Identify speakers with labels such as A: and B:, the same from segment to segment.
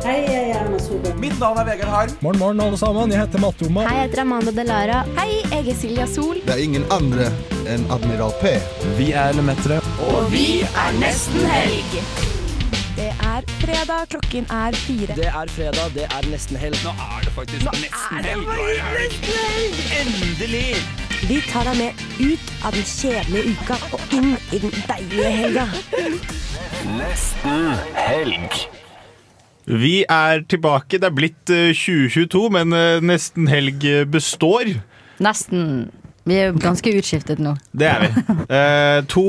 A: Hei, jeg er Erna Solberg.
B: Mitt navn er Vegard Harm.
C: Morgen, morgen, alle sammen. Jeg heter Matte Oma.
D: Hei, jeg heter Amanda Delara. Hei, jeg er Silja Sol.
E: Det er ingen andre enn Admiral P.
C: Vi er Lemetere.
D: Det er fredag, klokken er fire.
B: Det er fredag, det er nesten helg. Nå er det faktisk nesten helg. Endelig!
F: Vi tar deg med ut av den kjedelige uka og inn i den deilige helga.
G: Vi er tilbake. Det er blitt eh, 2022, men eh, nesten helg eh, består.
H: Nesten. Vi er jo ganske utskiftet nå.
G: Det er vi. Eh, to,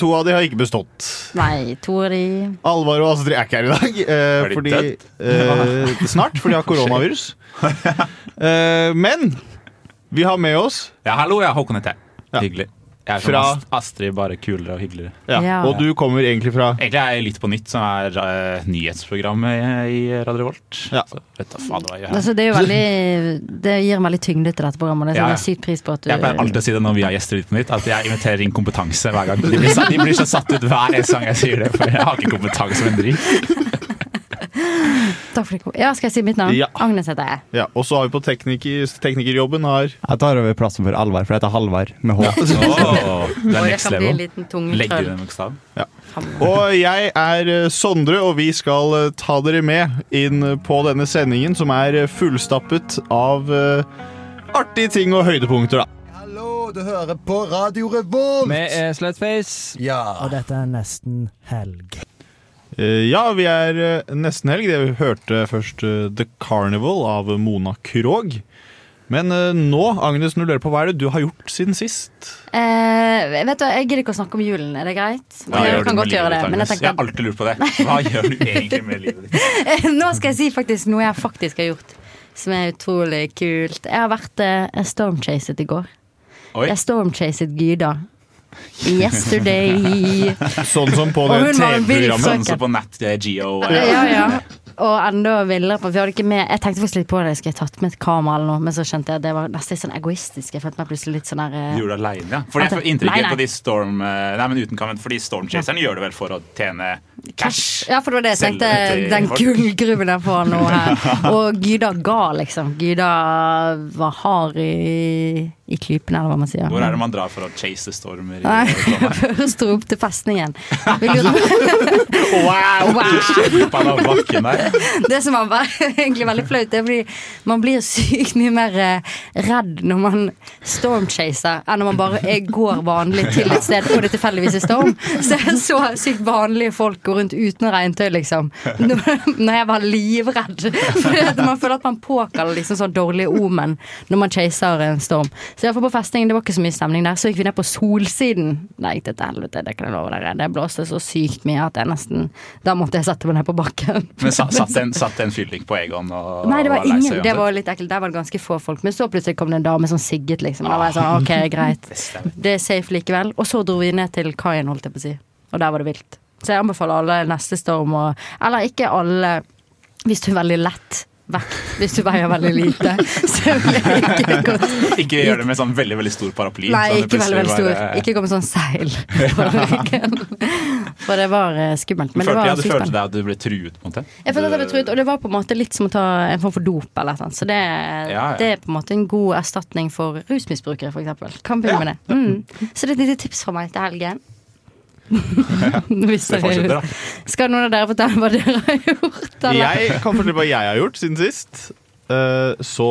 G: to av de har ikke bestått.
H: Nei, Tori
G: Alvar og Astrid er ikke her i dag. eh,
I: Er de
G: fordi,
I: dødd?
G: eh, snart, for de har koronavirus. Eh, men vi har med oss
I: Ja, hallo, jeg er Håkon Hette.
G: Ja.
I: Hyggelig. Jeg er
G: Fra-
I: fra Astrid, bare kulere og hyggeligere.
G: ja,
H: Ja.
G: Og du kommer egentlig fra
I: Egentlig er jeg Litt på nytt, som er eh, nyhetsprogrammet i Radio Revolt.
G: Ja.
I: Så, vet du, faen, hva jeg gjør her.
H: altså, det, er jo veldig, det gir en veldig tyngde til dette programmet. Det
I: Ja,
H: setter
I: ja.
H: jeg sykt pris på at du
I: Jeg pleier alltid å si det når vi har gjester i Litt på nytt, at jeg inviterer inn kompetanse hver gang. De blir, så- de blir så satt ut hver eneste gang jeg sier det, for jeg har ikke kompetanse som en dritt.
H: Takk for det kom. Ja, skal jeg si mitt navn?
G: Ja.
H: Agnes heter jeg.
G: ja, Og så har vi på tekniker, teknikerjobben har
C: Jeg tar over plassen for Alvar, for jeg heter Halvard med H.
I: Oh, det er
H: Og jeg
I: next
H: kan bli en
I: level.
H: liten tung
I: Legge
H: krøll.
I: inn en bokstav.
G: Og jeg er eh, Sondre, og vi skal eh, ta dere med inn på denne sendingen, som er eh, fullstappet av eh, artige ting og høydepunkter, da.
E: Hallo, du hører på Radio Revolt!
B: er Slutface.
E: Ja.
B: Og dette er nesten helg.
G: Eh, Ja, vi er eh, nesten helg. Det vi hørte først eh, The Carnival av Mona Krog. Men eh, nå, Agnes, når du lurer på hva er det du har gjort siden sist?
H: Eh, vet du, hva, Jeg gidder ikke å snakke om julen, er det greit?
I: Hva
H: jeg
I: gjør du
H: kan
I: med
H: godt gjøre
I: livet
H: det,
I: ditt,
H: men jeg
I: Agnes? jeg har
H: tenkte
I: alltid lurt på det. Hva gjør du egentlig med livet ditt?
H: at nå skal jeg si faktisk noe jeg faktisk har gjort, som er utrolig kult. Jeg har vært eh, stormchased i går.
I: Oi.
H: Jeg stormchased Gyda. Yesterday.
G: Sånn som på
H: Og
G: det
H: hun var en vill
G: TV-programmet.
I: Sånn
H: søker.
I: som på Nat eh, Geo. eh,
H: Ja, ja. Og enda villere på Vi hadde ikke med Jeg tenkte faktisk litt på det, skulle jeg tatt med et kamera eller noe, men så skjønte jeg at det var nesten litt sånn egoistisk. Jeg følte meg plutselig litt sånn her eh,
I: Gjorde det alene, ja. Fordi jeg får inntrykk
H: Nei, nei.
I: på de storm... eh, Nei, men uten comment, fordi stormchaserne gjør det vel for å tjene cash.
H: Ja, for det var det jeg
I: Selge
H: tenkte.
I: til
H: Den
I: folk.
H: gullgruven jeg får nå her. Og Gyda ga, liksom. Gyda var hard i, i klypene, eller hva man sier.
I: Hvor er det man drar for å chase stormer? I, sånn?
H: Nei.
I: Trondheim?
H: Først dro opp til festningen. Vi lurer på
I: wow! Slipp han av bakken der.
H: Det som var bare, egentlig veldig flaut, det er fordi man blir sykt mye mer eh, redd når man stormchaser, enn når man bare eh, går vanlig til et sted og det tilfeldigvis er storm. Så jeg så sykt vanlige folk gå rundt uten regntøy, liksom. Når når jeg var livredd. For at man føler at man påkaller liksom sånn dårlige omen når man chaser en storm. Så iallfall på festningen, det var ikke så mye stemning der. Så gikk vi ned på Solsiden. Nei, til helvete, det kan jeg love dere. Det blåste så sykt mye at jeg nesten Da måtte jeg sette meg ned på bakken.
I: Men sa- satt en, satt en fylling på Egon og
H: Nei, det
I: og
H: var
I: lei seg
H: ingen. Det
I: uansett?
H: var litt ekkelt. Der var det ganske få folk. Men så plutselig kom det en dame som sigget, liksom. Da var jeg sånn, ok, greit. Det er safe likevel. Og så dro vi ned til kaien, holdt jeg på å si. Og der var det vilt. Så jeg anbefaler alle neste storm og Eller ikke alle, hvis du er veldig lett vekt. Hvis du veier veldig lite, så vil jeg ikke gått
I: Ikke gjør det med sånn veldig veldig stor paraply.
H: Nei,
I: sånn det
H: ikke veldig,
I: plutselig
H: veldig stor.
I: bare-
H: Ikke gå med sånn seil på ryggen. For det var eh, skummelt. Men det
I: følte,
H: var
I: ja, du
H: sykt
I: følte
H: spennende.
I: deg at du ble truet på en måte?
H: Jeg følte at jeg ble truet, og det var på en måte litt som å ta en form for dop. eller sånn. Så det,
I: Ja, ja.
H: det er på en måte en god erstatning for rusmisbrukere, f.eks. Kan begynne med det. Mm. Så det er et lite tips fra meg til helgen. Hvis
I: Det fortsetter, da.
H: dere, skal noen av dere fortelle hva dere har gjort? Eller?
G: Jeg kan fortelle hva jeg har gjort siden sist. Eh, så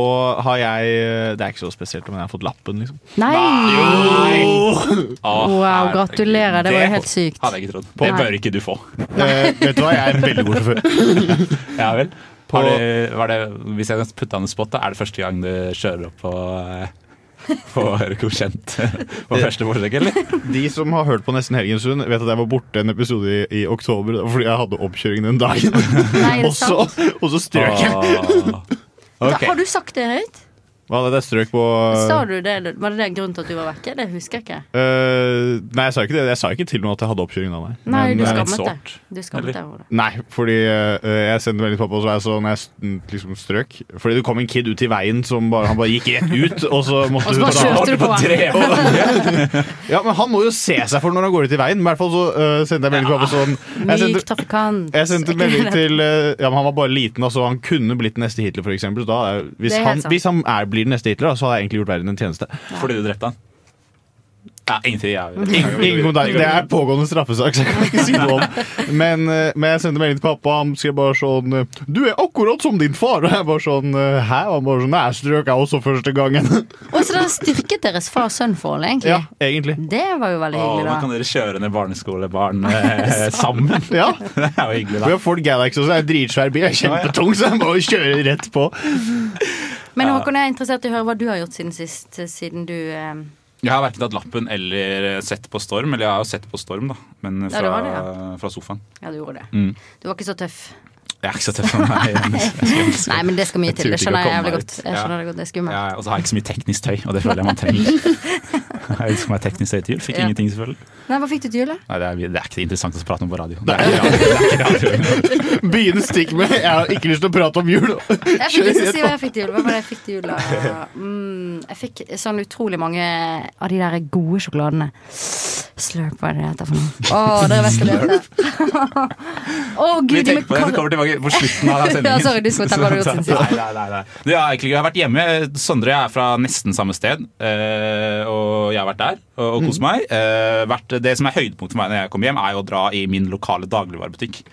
G: har jeg eh, Det er ikke så spesielt, men jeg har fått lappen, liksom.
H: Nei!
I: Å,
H: Wow,
I: Ah, herregud.
H: gratulerer. Det var jo helt sykt.
I: Hadde jeg ikke trodd.
H: På-
I: Det bør ikke du få.
G: Eh, vet du hva, jeg er en veldig god sjåfør.
I: Ja vel.
G: På-
I: Har det, var det, hvis jeg kan putte an en spot, da, er det første gang du kjører opp på eh, på å høre godkjent eh, på første forsøk, eller?
G: De som har hørt på Nesten helgen stund, vet at jeg var borte en episode i, i oktober da, fordi jeg hadde oppkjøring den dagen.
H: Nei, er
G: Og
H: det sant?
I: Ah.
G: så, og så strøk jeg.
I: Åh. Ok.
H: Har du sagt det høyt?
G: Hva hadde jeg strøk på?
H: Sa du det? Var det det grunnen til at du var vekke? Det husker jeg ikke.
G: Eh, nei, jeg sa ikke det. Jeg sa ikke til noen at jeg hadde oppkjøring av meg.
H: Nei,
I: Men
H: du
I: det er litt
H: skammet deg.
I: sårt,
H: Du skammet
I: eller?
H: deg over det.
G: eh, Nei, fordi eh, jeg sendte melding til pappa, og så var jeg sånn jeg s- mm, liksom strøk. Fordi det kom en kid ut i veien som bare, han bare gikk rett ut, og så måtte
H: Og så
G: hun
H: bare
G: ta-
H: kjørte du på han.
G: Ja, men han må jo se seg for når han går ut i veien. Men I hvert fall så eh, sendte jeg melding til pappa sånn jeg
H: Myk
G: sendte,
H: trafikant.
G: jeg sendte melding til eh, Ja, men han var bare liten, altså. Han kunne blitt den neste Hitler, for eksempel. Så da, er- hvis,
H: Det er helt
G: han,
H: sant.
G: hvis han er, blir den neste Hitler, da, så har jeg egentlig gjort verden en tjeneste.
I: Fordi du drepte han? Ja, ingenting. Jeg,
G: Ingen, ingen kontakt. Det er pågående straffesak, så jeg kan ikke si noe om Men, eh, men jeg sendte melding til pappa, han skrev bare sånn eh, Du er akkurat som din far! Og jeg bare sånn eh, Hæ? Og han bare sånn Nei, jeg strøk jeg også første gangen.
H: Og så det har styrket deres far-sønn-forhold, egentlig.
G: ja, egentlig.
H: Det var jo veldig
I: Åh,
H: hyggelig,
I: nå kan
H: da.
I: dere kjøre ned barneskolebarn eh, sammen.
G: Ja.
I: Det er jo hyggelig,
G: Vi
I: da.
G: har Ford Galaxy også, det er en dritsvær bil, jeg er kjempetung, så jeg må jo kjøre rett på.
H: Men Håkon, jeg er interessert i å høre hva du har gjort siden sist, siden du eh,
I: Jeg har verken tatt lappen eller sett på storm. Eller jeg har jo sett på storm, da. Men
H: det
I: fra,
H: var det, ja.
I: fra sofaen.
H: Ja, du gjorde det.
I: Mm.
H: Du var ikke så tøff.
I: Jeg er ikke så tøff. Nei, jeg
H: Nei, men det skal mye
I: Jeg
H: til. Det
I: turte ikke å
H: skjønner jeg
I: komme
H: jævlig
I: meg
H: godt.
I: ut.
H: Jeg
I: Ja.
H: skjønner det godt, Det er skummelt.
I: Ja, og så har jeg ikke så mye teknisk tøy, og det føler jeg man trenger. Jeg ønsker meg teknisk tøy til jul. Fikk
H: Ja.
I: ingenting, selvfølgelig.
H: Nei, hva fikk du til jul, da?
I: Nei, det er, det er ikke interessant å prate om på radio. Det er ikke radio. Det er ikke radio.
G: Begynne stikk med 'jeg har ikke lyst til å prate om jul'.
H: Jeg fikk lyst til å si hva jeg fikk til jul. Hva var det jeg fikk til jul? da? Mm, jeg fikk sånn utrolig mange av de der gode sjokoladene. Slurp, hva er det det heter for noe? Å, dere vet hva det er. Å, gud,
I: Vi
H: de med
I: tenker på det, det
H: kar-
I: kommer tilbake på slutten av sendingen.
H: Ja, sorry, du skal ta hva du har gjort siden sist.
I: Nei, nei, nei, nei. Du, jeg, har egentlig, ikke- jeg har vært hjemme. Sondre er fra nesten samme sted. eh, og jeg har vært der og, og kost
H: Mm.
I: meg. Eh, vært, det som er høydepunktet for meg når jeg kommer hjem, er jo å dra i min lokale dagligvarebutikk.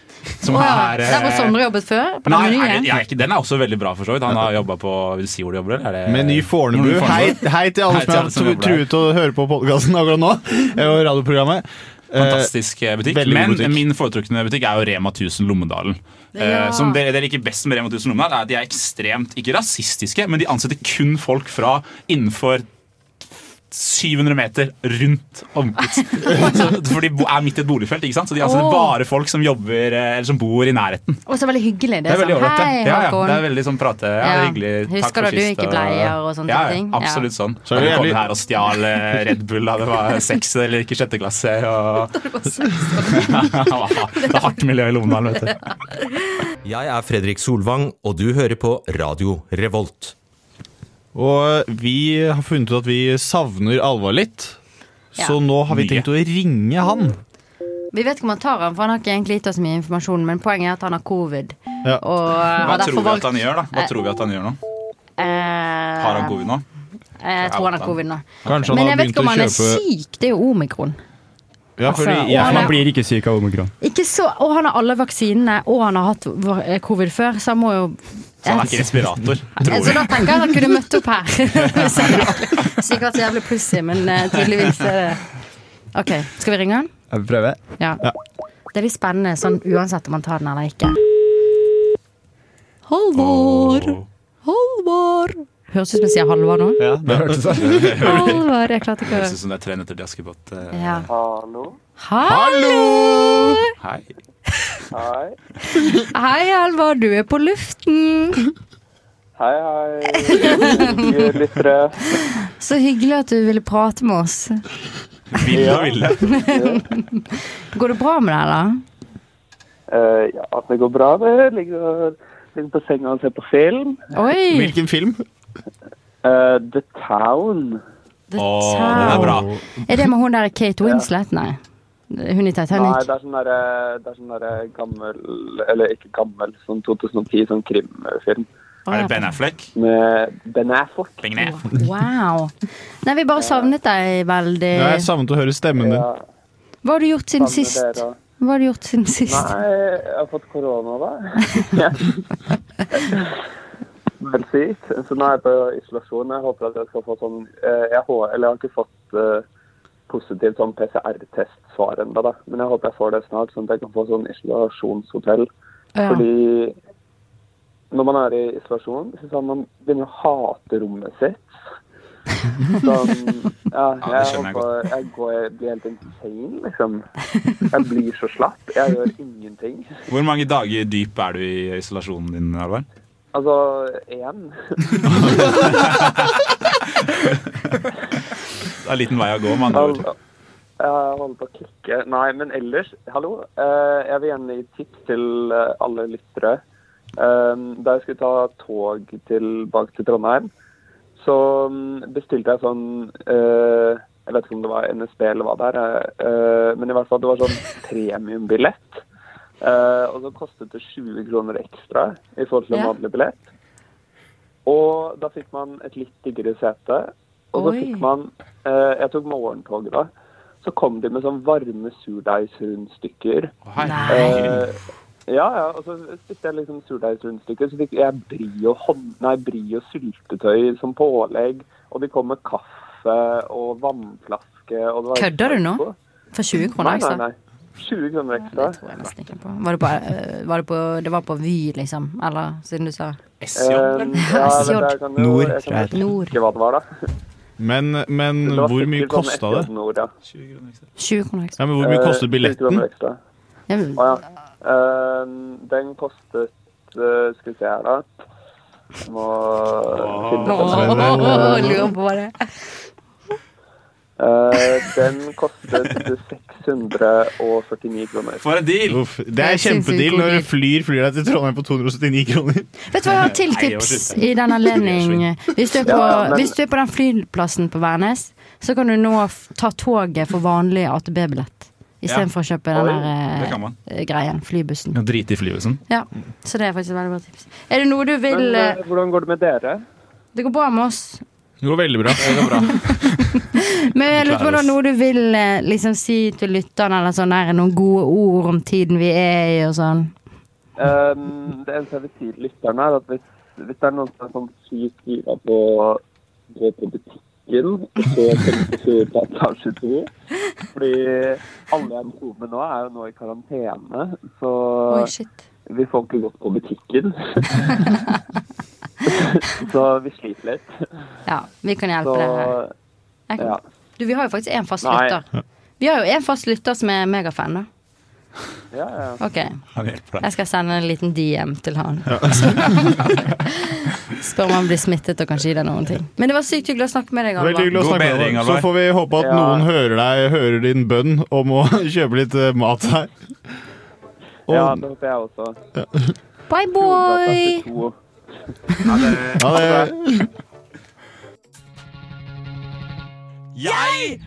I: Som
H: Å ja,
I: eh,
H: Der var Sondre jobbet før? På den
I: Nei, er det,
H: menyen?
I: jeg er ikke, den er også veldig bra, for så vidt. Han har jobba på Vil du si hvor du jobber? eller? Er det-
G: Meny Eh, Fornebu.
I: Meny
G: Hei, hei til alle
I: Hei til alle som
G: som har
I: jobber der.
G: truet å høre på podkasten akkurat nå. eh, Og radioprogrammet. Eh,
I: Fantastisk butikk.
G: veldig god
I: Men
G: butikk.
I: min foretrukne butikk er jo Rema 1000 Lommedalen.
H: Ja.
I: Eh, som dere, dere liker best med Rema 1000 Lommedalen, er at de er ekstremt ikke rasistiske, men de ansetter kun folk fra innenfor 700 meter rundt omkrets. Så- For de bo- er midt i et boligfelt, ikke sant? så de ansetter
H: Åh.
I: bare folk som jobber eh, eller som bor i nærheten.
H: Og så veldig hyggelig.
I: Det er veldig
H: sånn,
I: ålreit.
H: Hei,
I: det. Ja, ja,
H: Håkon.
I: det er veldig sånn prate. Ja, det er
H: Ja.
I: hyggelig. Takk
H: Husker
I: for
H: at du
I: sist,
H: gikk i bleier og sånne
I: ja, ja,
H: ting?
I: Absolutt sånn.
G: Så er det
I: Jeg kom
G: jævlig-
I: her og stjal eh, Red Bull da det var seks eller ikke sjette klasse. Og... det er hardt miljø i Lommedalen, vet du.
J: Jeg er Fredrik Solvang, og du hører på Radio Revolt.
G: Og vi har funnet ut at vi savner Alvar litt. Så
H: Ja.
G: nå har vi tenkt å ringe han.
H: Vi vet ikke om han tar han, for han har ikke egentlig gitt oss mye informasjon, men poenget er at han har covid.
G: Ja.
H: Og
I: Hva
H: har
I: tror
H: derfor
I: vi at
H: valgt
I: han gjør, da? Hva
H: Eh,
I: tror vi at han gjør nå?
H: eh,
I: Har han covid nå?
H: Jeg tror han har covid nå.
G: Kanskje
H: Men
G: han
H: jeg
G: har
H: vet
G: begynt
H: ikke om
G: å
H: han er
G: kjøpe
H: syk. Det er jo omikron.
G: Ja, fordi
H: Altså, og
G: jeg,
H: han
C: Man
H: er-
C: blir ikke syk av omikron.
H: Ikke så, og han har alle vaksinene, og han har hatt v- eh, covid før, så han må jo
I: Så han er ikke respirator,
H: Eh,
I: tror
H: så
I: vi.
H: da tenker jeg han kunne møtt opp her. Hvis han hadde- Sikkert så jævlig pussig, men eh, tydeligvis er det OK, skal vi ringe han?
C: Jeg prøver.
H: Ja. Det er litt spennende sånn uansett om han tar den eller ikke. Halvor!
I: Åh.
H: Halvor! Høres ut som jeg sier Halvor nå.
C: Ja, det hørtes sånn ut.
H: Halvor, jeg klarte ikke
I: Høres
H: å
I: ut som det er tre nøtter til Askepott. eh,
H: ja.
G: Hallo!
I: Hei.
H: Hei, Halvor, du er på luften.
K: Hei, hei, lyttere.
H: Så hyggelig at du ville prate med oss.
I: Ville og ville.
H: Går det bra med deg, eller?
K: Eh, ja, det går bra, det. Ligger, ligger på senga og ser på film.
H: Oi!
G: Hvilken film?
K: Eh, The Town.
H: The
I: Åh, den er bra.
H: Town. Er det med hun der Kate Winslet? Nei. Hun i
K: Nei,
H: Titanic?
K: det er sånn derre det er sånn derre gammel Eller ikke gammel, sånn 2010, sånn krimfilm.
H: Å,
I: Er
H: ja.
I: det Ben Affleck?
K: Med Ben Affleck.
I: Lenger ned.
H: Wow. Nei, vi bare savnet deg veldig.
G: Ja, jeg savnet å høre stemmen
H: Eh.
G: din.
K: Ja,
H: Hva har du gjort siden
K: savner
H: sist?
K: dere.
H: Hva har du gjort siden sist?
K: Nei, jeg har fått korona, da. Vel sykt. Så nå er jeg på isolasjon. Jeg håper at jeg skal få sånn eh, Jeg, hå- eller jeg har ikke fått eh, positivt sånn PCR-testsvar ennå, da. Men jeg håper jeg får det snart, sånn at jeg kan få sånn isolasjonshotell.
H: Ja.
K: Fordi når man er i isolasjon, så kan man begynne å hate rommet sitt. Sånn, ja,
I: Ja, det
K: jeg,
I: skjønner jeg
K: håper, jeg, går, jeg blir helt insane, liksom. Jeg blir så slapp. Jeg gjør ingenting.
I: Hvor mange dager dyp er du i isolasjonen din, Alvar?
K: Altså én.
I: Det er en liten vei å gå, med andre ord.
K: Al- Jeg holder på å klikke. Nei, men ellers, hallo. eh, Jeg vil gjerne gi tips til eh, alle lyttere. Eh, Da jeg skulle ta tog tilbake til Trondheim, så mm, bestilte jeg sånn eh, Jeg vet ikke om det var NSB eller hva det er, eh, men i hvert fall det var sånn premiumbillett. Eh, Og så kostet det 20 kroner ekstra i forhold til en
L: Ja.
K: vanlig billett. Og da fikk man et litt diggere sete. Og så
L: Oi.
K: fikk man eh, Jeg tok morgentoget da. Så kom de med sånn varme surdeigsrundstykker. Eh, ja, ja. Og så spiste jeg liksom surdeigsrundstykker. Så fikk jeg brio, hånd, nei, brio syltetøy som pålegg. Og de kom med kaffe og vannflaske. Og det var
H: Kødder du nå? For 20 kroner ekstra?
K: Nei, nei, nei. 20 kroner ekstra. Det tror
H: jeg nesten ikke på. Var det, på, eh, var det, på, det var på Vy, liksom? Eller siden du sa
K: SJ? Eh,
H: Eh,
K: Ja, men jeg kan jo- Nord, jeg kan tror jeg det er.
H: Nord.
K: Ikke hva det var, da.
G: Men, men
K: Det var
G: hvor mye
K: sikkert sånn
G: kosta det?
K: SJ-nord, ja.
H: 20 kroner ekstra.
G: Ja, men hvor mye
K: Eh,
G: kostet
K: 20
G: billetten?
K: kroner ekstra.
H: Ja,
K: Å
H: men-
K: ja. Eh, den kostet eh, Skal vi se her, da. Jeg Må finne
H: Åh,
K: på det.
H: lurer på det.
K: Eh, den kostet 649 kroner.
I: For en deal!
G: Uff, det er
H: Det
G: kjempedeal
H: er sinnssykt god
G: når
H: deal.
G: du flyr flyr deg til Trondheim på 279 kroner.
H: Vet du hva jeg har til
G: Nei, jeg var
H: tips
G: slutt.
H: i den anledning? Hvis du er på,
G: Ja, men-
H: hvis du er på den flyplassen på Værnes, så kan du nå f- ta toget for vanlig AtB-billett. Istedenfor for å kjøpe den
I: Oi,
H: der eh,
I: det kan man.
H: eh, greien. Flybussen.
I: Ja, Drite i flybussen.
H: Ja, så det er faktisk et veldig bra tips. Er det noe du vil
K: Men
H: eh,
K: eh, hvordan går det med dere?
H: Det går bra med oss.
G: Det går veldig bra.
H: Men jeg lurer på om det
G: Klarer
H: er noe du vil eh, liksom si til lytterne, eller sånn der, noen gode ord om tiden vi er i og sånn.
K: Ehm, det eneste jeg vil si til lytterne, er at hvis, hvis det er noen som er sånn sykt gira på å gå på butikken, så kommer de til på etasje to. Fordi alle jeg bor med nå, er jo nå i karantene, så
H: Oi, shit.
K: vi får ikke gått på butikken. så vi sliter litt.
H: Ja, vi kan hjelpe
K: så,
H: dere. Jeg kan-
K: ja.
H: Du, vi har jo faktisk én fast
K: Nei.
H: lytter. Vi har jo én fast lytter som er megafan, da.
K: Ja, ja.
H: Ok.
I: Han hjelper deg.
H: Jeg skal sende en liten DM til han. Spør om han blir smittet og kan gi deg noen ting. Men det var sykt hyggelig å snakke med deg,
G: Veldig hyggelig å
I: God
G: snakke med
I: bedring,
G: deg. Så
I: Alvar.
G: får vi håpe at
K: Ja.
G: noen hører deg, hører din bønn om å kjøpe litt eh, mat her. Og-
K: ja, det håper jeg også.
H: Bye, boy!
K: To.
G: Ha det.
B: Jeg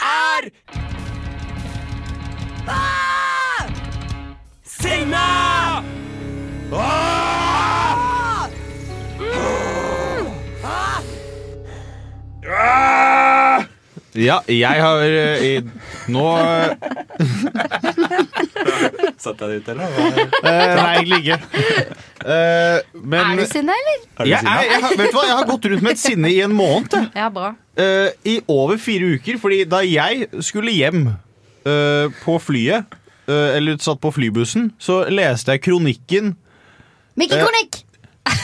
B: er ah! sinna! Ah! Ah!
G: Ja, jeg har eh, i, Nå eh,
I: Satt jeg det ut, eller? Hva-
G: eh, Nei, egentlig ikke. Eh, men
H: Er du sinna, eller?
I: Er du
G: jeg,
I: sinna?
G: er, jeg, har- vet du hva? jeg har gått rundt med et sinne i en måned. jeg.
H: Ja, bra.
G: Eh, I over fire uker, fordi da jeg skulle hjem eh, på flyet, eh, eller satt på flybussen, så leste jeg kronikken
H: Mikkel
G: Eh.
H: Konik!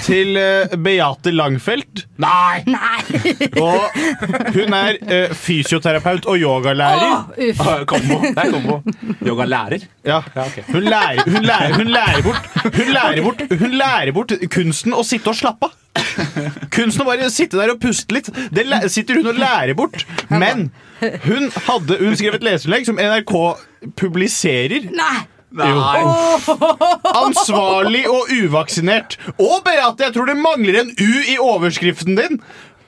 G: til eh, Beate Langfelt.
I: Nei!
H: Nei!
G: Og hun er eh, fysioterapeut og yogalærer.
H: Uff.
I: Ah, Kombo. Det er kombo. Yoga lærer.
G: Ja.
I: Ja, ok.
G: Hun, lærer, hun, lærer, hun, lærer bort, hun, lærer bort, hun lærer bort kunsten å sitte og slappe av. Kunsten å bare sitte der og puste litt, det læ- sitter hun og lærer bort. Men hun, hadde, hun skrev et leserinnlegg som NRK publiserer.
H: Nei!
G: Jo. Ansvarlig og uvaksinert. Og Beate, jeg tror det mangler en U i overskriften din.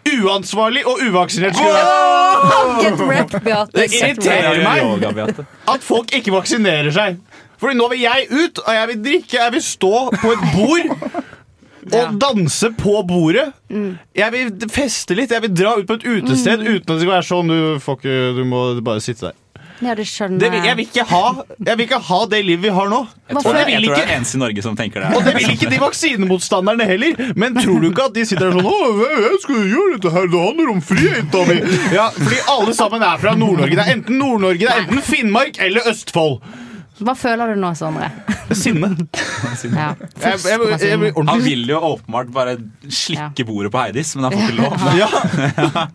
G: Uansvarlig og uvaksinert. skrev jeg.
H: Get wrecked, Beate.
G: Det irriterer meg
I: Yoga, Beate.
G: at folk ikke vaksinerer seg. Fordi nå vil jeg ut, og jeg vil drikke, jeg vil stå på et bord og danse på bordet. Jeg vil feste litt, jeg vil dra ut på et utested uten at det skal være sånn. Du, får ikke, du må bare sitte der.
H: Ja, det skjønner
G: Det, vil- jeg, vil ikke ha, jeg vil ikke ha det livet vi har nå.
I: Jeg
G: Og
I: tror,
G: det
I: jeg,
G: vil
I: tror jeg er
G: ikke,
I: eneste i Norge som tenker
G: og det
I: det.
G: vil ikke de vaksinemotstanderne heller. Men tror du ikke at de sitter der sånn Å, jeg- jeg skal gjøre dette her, det handler om friheten min. Ja, fordi alle sammen er fra Nord-Norge. Det er enten Nord-Norge, det er enten Finnmark eller Østfold.
H: Hva føler du nå, Sondre?
G: Sinne.
H: Ja.
G: Jeg- jeg- jeg- jeg blir ordentlig-
I: Han vil jo åpenbart bare slikke bordet på Heidis, men han får ikke lov.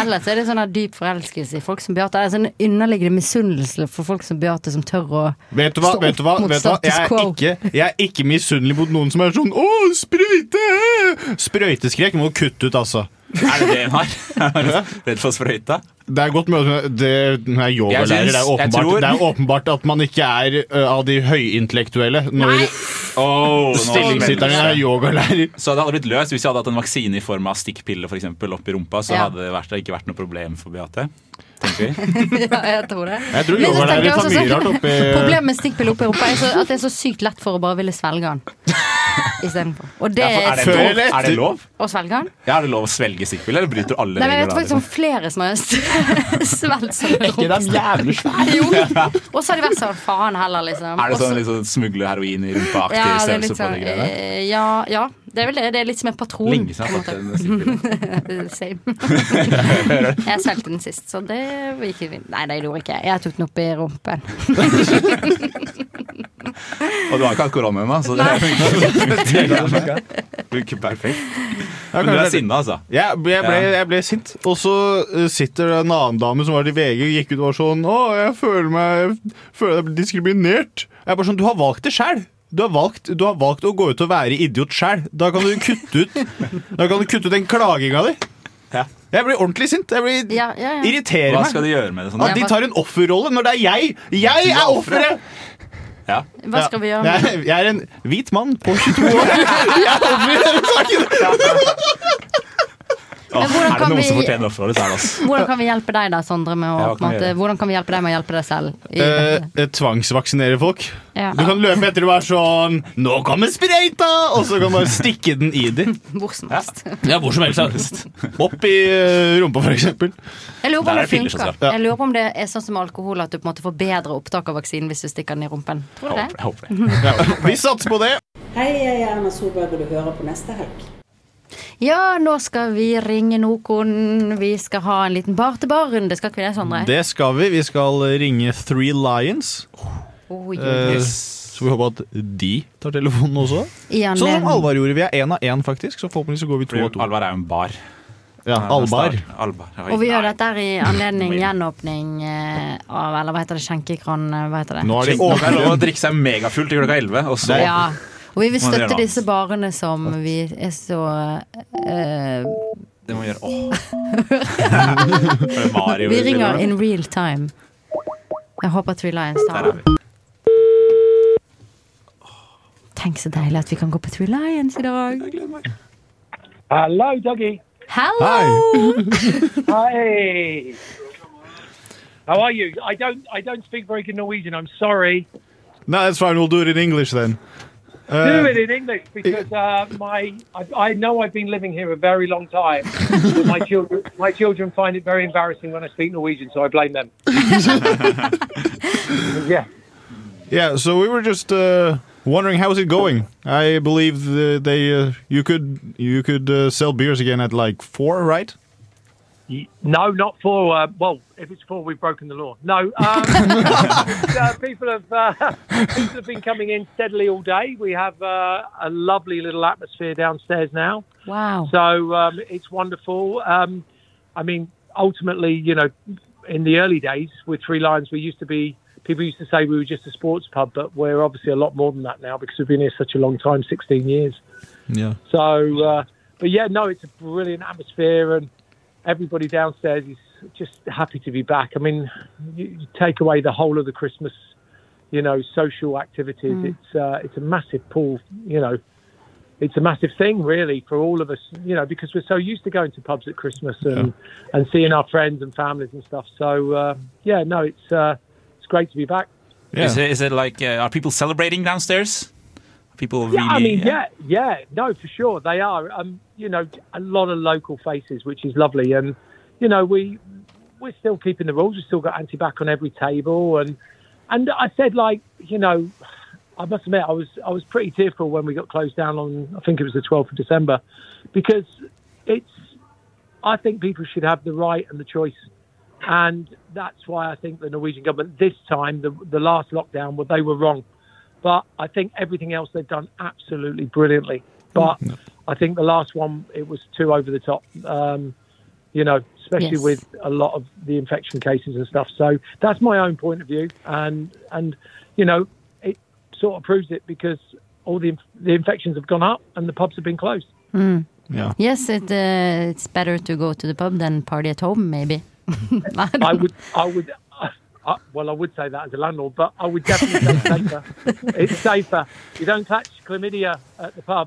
H: Ellers er det sånn her dyp forelskelse i folk som Beate. Det er sånn underliggende misunnelse for folk som Beate, som tør å
G: Vet du hva?
H: stå
G: Vet du hva?
H: opp mot
G: Vet du hva? Jeg,
H: status
G: er
H: quo.
G: ikke, jeg er ikke misunnelig mot noen som er sånn 'Å, sprøyte!' Sprøyteskrekk må du kutte ut, altså.
I: Er det det hun har? Redd for sprøyta?
G: Det er godt mulig at det, hun er
I: Jeg
G: yogalærer.
I: synes-
G: Det, er
I: jeg
G: åpenbart-
I: tror-
G: det er åpenbart at man ikke er ø, av de høyintellektuelle når
I: Oh, nå
G: stillingssitteren din
I: spenner
G: er
I: det seg.
G: yogalærer.
I: Så det hadde blitt løst hvis jeg hadde hatt en vaksine i form av stikkpille for eksempel, opp i rumpa, så
H: Ja.
I: hadde det vært, ikke vært noe problem for Beate. Tenker vi.
H: ja, jeg tror det.
G: Jeg altså, tror
H: Men så
G: yogalærer
H: tenker jeg
G: tar
H: også
G: mye
H: sånn-
G: rart
I: Eh.
G: oppi-
H: Problemet med stikkpille oppi rumpa er så, at det er så sykt lett for å bare ville svelge den. Istedenfor. Og det
I: Ja,
H: er
I: for er, det
G: Før
I: lov?
G: eller
I: er det
G: etter?
I: lov?
H: Å svelge den?
I: Ja, er det lov å svelge stikkpille, eller bryter du alle
H: Nei, men jeg vet
I: regler?
H: faktisk
I: da?
H: om flere som har svelget sånn
G: jævlig svære.
H: Jo. Og så har de vært sånn faen heller, liksom.
I: Er det
H: Og så-
I: sånn liksom, smugle heroin i rumpa-aktig
H: ja, det er
I: størrelse
H: litt
I: på
H: sånn,
I: de greiene?
H: eh, ja, ja, det er vel det. Det er litt som en patron.
I: Lenge siden jeg
H: på
I: har
H: en
I: fått
H: måte.
I: en stikkpille.
H: Eh, Same. jeg svelgte den sist, så det gikk fint. Nei, det gjorde ikke jeg. Jeg tok den opp i rumpen.
I: Og du har ikke hatt korona ennå, så det funker. Funker perfekt. Men du er sinna, altså.
G: Jeg ble, jeg, ble, jeg ble sint, og så eh, sitter det en annen dame som var i VG og gikk ut og var sånn Å, jeg føler meg jeg føler jeg blir diskriminert. Jeg er bare sånn, Du har valgt det sjæl. Du, har valgt- du har valgt å gå ut og være idiot sjæl. Da kan du kutte ut Da kan du kutte ut den klaginga di.
I: Ja.
G: Jeg blir ordentlig sint. Jeg blir
H: Ja, ja, ja.
G: irriterer
I: Hva
G: meg.
I: skal de gjøre med det?
G: At
I: sånn?
G: de tar en offerrolle når det er jeg! Jeg er offeret!
I: Ja.
H: Hva skal vi gjøre
G: Ja.
H: med
G: Jeg, jeg er en hvit mann på 22 år. Jeg er offer i denne saken.
I: Åh,
H: Men hvordan
I: er det
H: kan
I: noen som
H: vi-
I: fortjener offerrollen, så er det oss.
H: Hvordan kan vi hjelpe deg da, Sondre? Med å,
I: Ja, hva
H: på en
I: kan vi
H: måte,
I: gjøre?
H: hvordan kan vi hjelpe deg med å hjelpe deg selv? I,
G: Eh, eh, tvangsvaksinere folk.
H: ja.
G: Du kan løpe etter og være sånn 'Nå kommer sprøyta!' Og så kan du bare stikke den i dem.
H: Hvor som helst.
G: Ja, hvor som helst. Opp i eh, rumpa, for eksempel.
H: Jeg lurer på om det
I: Der er det liksom. piller som
H: funker.
G: skal. Ja.
H: Jeg lurer på om det er sånn som alkohol, at du på en måte får bedre opptak av vaksinen hvis du stikker den i rumpen. Tror du
I: Jeg
H: det?
I: håper- jeg håper det.
G: Ja, vi satser på det.
A: Hei, jeg er Erna Solberg, og du hører på neste helg.
H: Ja, nå skal vi ringe Nokon. Vi skal ha en liten bar-til-bar-runde. Skal ikke vi det, Sondre?
G: Det skal vi. Vi skal ringe Three Lions.
H: Oh, jo.
G: Eh, så vi håper at de tar telefonen også.
H: I
G: Sånn som
H: anledning-
G: Alvar gjorde. Vi er én av én, faktisk. Så forhåpentlig så går vi to av
I: Fordi
G: to.
I: Alvar er jo en bar.
G: Ja, Alvar.
I: Alvar. Oi,
H: Og vi gjør
I: nei.
H: dette her i anledning gjenåpning eh, av Eller hva heter det? Skjenkekran? eh, Hva heter det?
G: Nå er det
I: Skjenk- Nå er det lov å
G: åpen.
I: drikke seg megafullt til klokka 11, og så
H: Ja. Og vi vil
I: Må dere
H: støtte
I: da.
H: disse barene som vi er så eh,
I: Det må vi gjøre. Åh. Mario,
H: Vi ringer in real time. Jeg håper Three Lions
I: Der
H: tar
I: er
H: den.
I: vi.
H: Tenk så deilig at vi kan gå på Three Lions i dag.
K: Hello, Dougie.
H: Hello!
K: Hi. How are you? I don't I don't speak very good Norwegian. I'm sorry.
G: No, that's fine. We'll do it in English then.
K: Do
G: Uh,
K: it in English because uh, my I, I know I've been living here a very long time. but my children my children find it very embarrassing when I speak Norwegian, so I blame them. yeah.
G: yeah. So we were just uh, wondering how's it going. I believe the, they uh, you could you could uh, sell beers again at like four, right?
K: No, not for. Uh, well, if it's for, we've broken the law. No, um, uh, people have uh, people have been coming in steadily all day. We have uh, a lovely little atmosphere downstairs now,
H: Wow.
K: so um, it's wonderful. Um, I mean, ultimately, you know, in the early days with Three Lions, we used to be. People used to say we were just a sports pub, but we're obviously a lot more than that now because we've been here such a long time, 16 years.
G: Yeah.
K: So, uh, but yeah, no, it's a brilliant atmosphere, and everybody downstairs is just happy to be back. I mean, you, you take away the whole of the Christmas, you know, social activities. It's uh, it's a massive pool, you know. It's a massive thing, really, for all of us, you know, because we're so used to going to pubs at Christmas and, and seeing our friends and families and stuff. So, uh, yeah, no, it's uh, it's great to be back.
I: Is it, is it like, uh, are people celebrating downstairs? Are People really uh,
K: Yeah, I mean, yeah, yeah, no, for sure they are. Um, you know, a lot of local faces, which is lovely, and you know we we're still keeping the rules. We've still got anti-back on every table, and and I said like, you know, I must admit I was I was pretty tearful when we got closed down on I think it was the twelfth of December, because it's I think people should have the right and the choice
L: And that's why I think the Norwegian government this time, the, the last lockdown, well, they were wrong. But I think everything else they've done absolutely brilliantly. But I think the last one, it was too over the top, um, you know, especially
M: Yes.
L: with a lot of the infection cases and stuff. So that's my own point of view. And, and you know, it sort of proves it because all the, inf- the infections have gone up and the pubs have been closed.
H: Mm.
G: Yeah.
H: Yes, it, uh, it's better to go to the pub than party at home, maybe. I don't
L: I would, I would, I, I, well, I would say that as a landlord, but I would definitely say safer. It's safer. You don't catch chlamydia at the pub.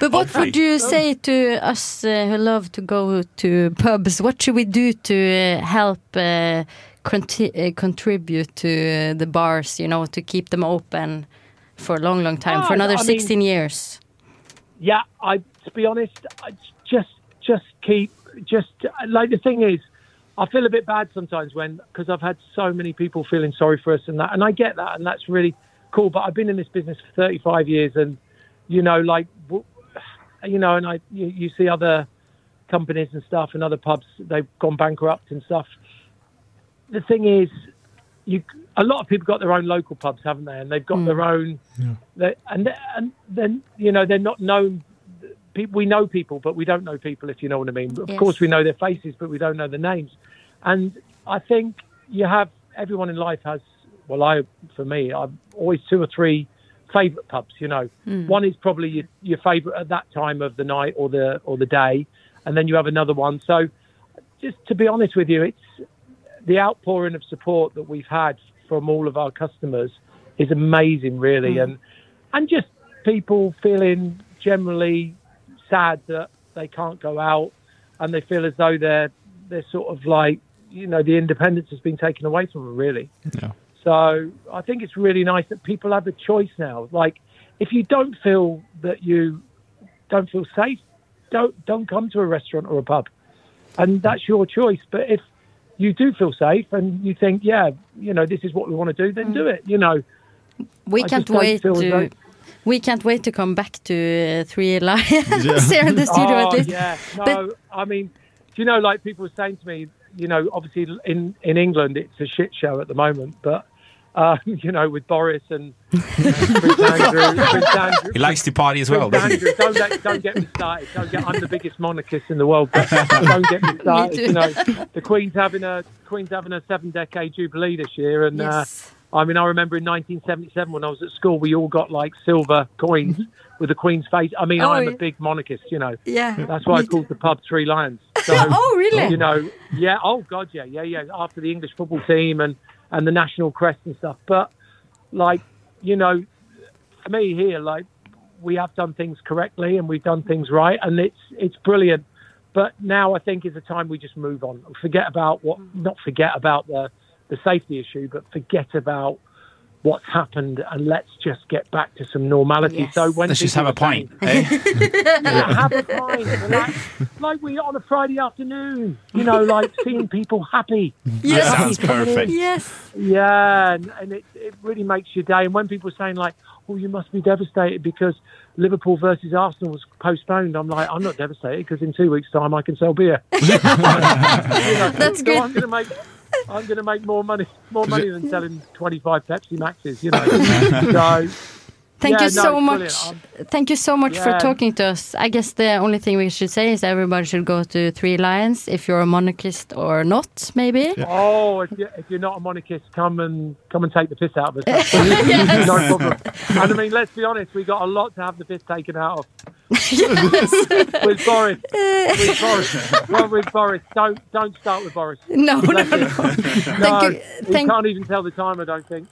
H: But what would you
L: Oh.
H: say to us uh, who love to go to pubs? What should we do to uh, help uh, conti- uh, contribute to uh, the bars, you know, to keep them open for a long, long time, for
L: Oh,
H: another
L: I mean-
H: 16 years?
L: yeah, I to be honest, I j- just just keep just like the thing is, I feel a bit bad sometimes when because I've had so many people feeling sorry for us and that, and I get that, and that's really cool. But I've been in this business for 35 years, and you know, like w- you know, and I you, you see other companies and stuff and other pubs they've gone bankrupt and stuff. The thing is, you a lot of people got their own local pubs, haven't they? And they've got their own they, and and then you know they're not known. People, we know people, but we don't know people. If you know what I mean. Of
N: Yes.
L: course, we know their faces, but we don't know their names. And I think you have everyone in life has. Well, I for me, I've always two or three favorite pubs. You know,
N: Mm.
L: one is probably your, your favorite at that time of the night or the or the day, and then you have another one. So, just to be honest with you, it's the outpouring of support that we've had from all of our customers is amazing, really,
N: Mm.
L: and and just people feeling generally sad that they can't go out, and they feel as though they're they're sort of like you know the independence has been taken away from them, really. So I think it's really nice that people have a choice now. Like, if you don't feel that you don't feel safe, don't don't come to a restaurant or a pub, and that's your choice. But if you do feel safe and you think, yeah, you know, this is what we want to do, then do it. You know,
H: We
L: I
H: can't
L: just don't
H: wait
L: feel
H: to.
L: that-
H: We can't wait to come back to uh, Three Lions here in the studio
L: oh,
H: at least.
L: Yeah, no,
H: But-
L: I mean, do you know, like people were saying to me, you know, obviously in, in England it's a shit show at the moment, but, um, you know, with Boris and you know, Prince Andrew, Prince Andrew.
I: He likes to party as well. doesn't
L: Prince
I: he?
L: Andrew, don't, let, don't get me started. Don't get, I'm the biggest monarchist in the world, but don't get me started.
N: too.
L: you know, the Queen's having a Queen's having a seven decade jubilee this year, and
N: Yes.
L: uh, I mean, I remember in 1977 when I was at school, we all got like silver coins with the Queen's face. I mean,
N: Mm-hmm. Oh,
L: I'm
N: yeah.
L: a big monarchist, you know.
N: Yeah.
L: that's why I
N: Me
L: called the pub Three Lions. So,
N: Oh, really?
L: You know, yeah. Oh God, yeah, yeah, yeah. After the English football team and and the national crest and stuff, but like, you know, for me here, like we have done things correctly and we've done things right, and it's it's brilliant. But now I think is the time we just move on, forget about what, not forget about the the safety issue, but forget about what's happened, and let's just get back to some normality. So when
I: Let's just
L: people
I: have a
L: are saying-
I: pint. Eh?
L: yeah, have a pint. relax. Like we on a Friday afternoon, you know, like seeing people happy.
I: Yes. That
L: Happy
I: sounds
L: coming in.
I: perfect.
H: Yes.
L: Yeah, and, and it, it really makes your day. And when people are saying like, "Oh, you must be devastated because Liverpool versus Arsenal was postponed," I'm like, "I'm not devastated because in two weeks' time I can sell beer." That's so I'm going to make. I'm going to make more money, more money than selling 25 Pepsi Maxes, you know. so,
H: Thank
L: yeah,
H: you
L: no,
H: so
L: it's
H: much.
L: brilliant. I'm-
H: Thank you so much for
L: Yeah.
H: talking to us. I guess the only thing we should say is everybody should go to Three Lions if you're a monarchist or not, maybe.
L: Oh, if you're, if you're not a monarchist, come and come and take the piss out of us.
H: Yes.
L: No problem. And I mean, let's be honest, we got a lot to have the piss taken out of. with Boris, with Boris, well, with Boris. Don't don't start with Boris.
H: No, no,
L: Bless
H: no.
L: you.
H: Thank you.
L: we
H: Thank-
L: can't even tell the time. I don't think.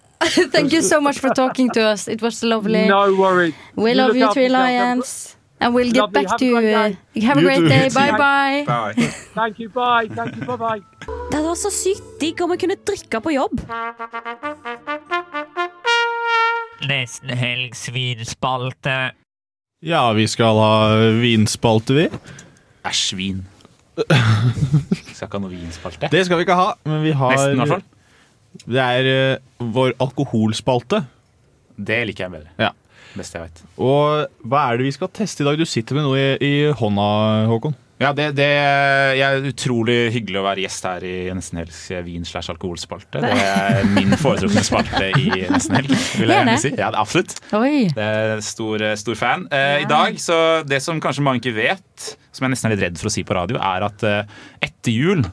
H: Thank you so much for talking to us. It was lovely.
L: No worries.
H: We
L: You
H: love
L: look
H: you,
L: after
H: Three
L: yourself.
H: Lions. And we'll get
L: Lovely.
H: back
L: Have
H: to
L: a
H: you.
L: great
H: uh,
L: day.
H: Have a
L: You
H: great
L: too.
H: day. Bye
L: Bye.
H: bye.
L: Thank you. Bye. Thank you. Bye. Bye.
F: Det hadde vært så sykt digg om jeg kunne drikke på jobb.
O: Nesten helg svinspalte.
G: Ja, vi skal ha vinspalte, vi.
I: Æsj, vin. Skal ikke ha noe vinspalte.
G: Det skal vi ikke ha, men vi har
I: Nesten, i hvert fall.
G: Det er eh, vår alkoholspalte.
I: Det liker jeg bedre.
G: Ja.
I: Beste jeg vet.
G: Og hva er det vi skal teste i dag? Du sitter med noe i, i hånda, Håkon.
I: Ja, det, det er utrolig hyggelig å være gjest her i Nesten Helgs eh, vin- slash alkoholspalte. Det er min foretrukne spalte i Nesten Helg, vil jeg
H: Er det?
I: gjerne si. Ja, det er absolutt.
H: Oi.
I: Det er stor, stor fan. Eh, I dag, så Det som kanskje mange ikke vet, som jeg nesten er litt redd for å si på radio, er at eh, etter jul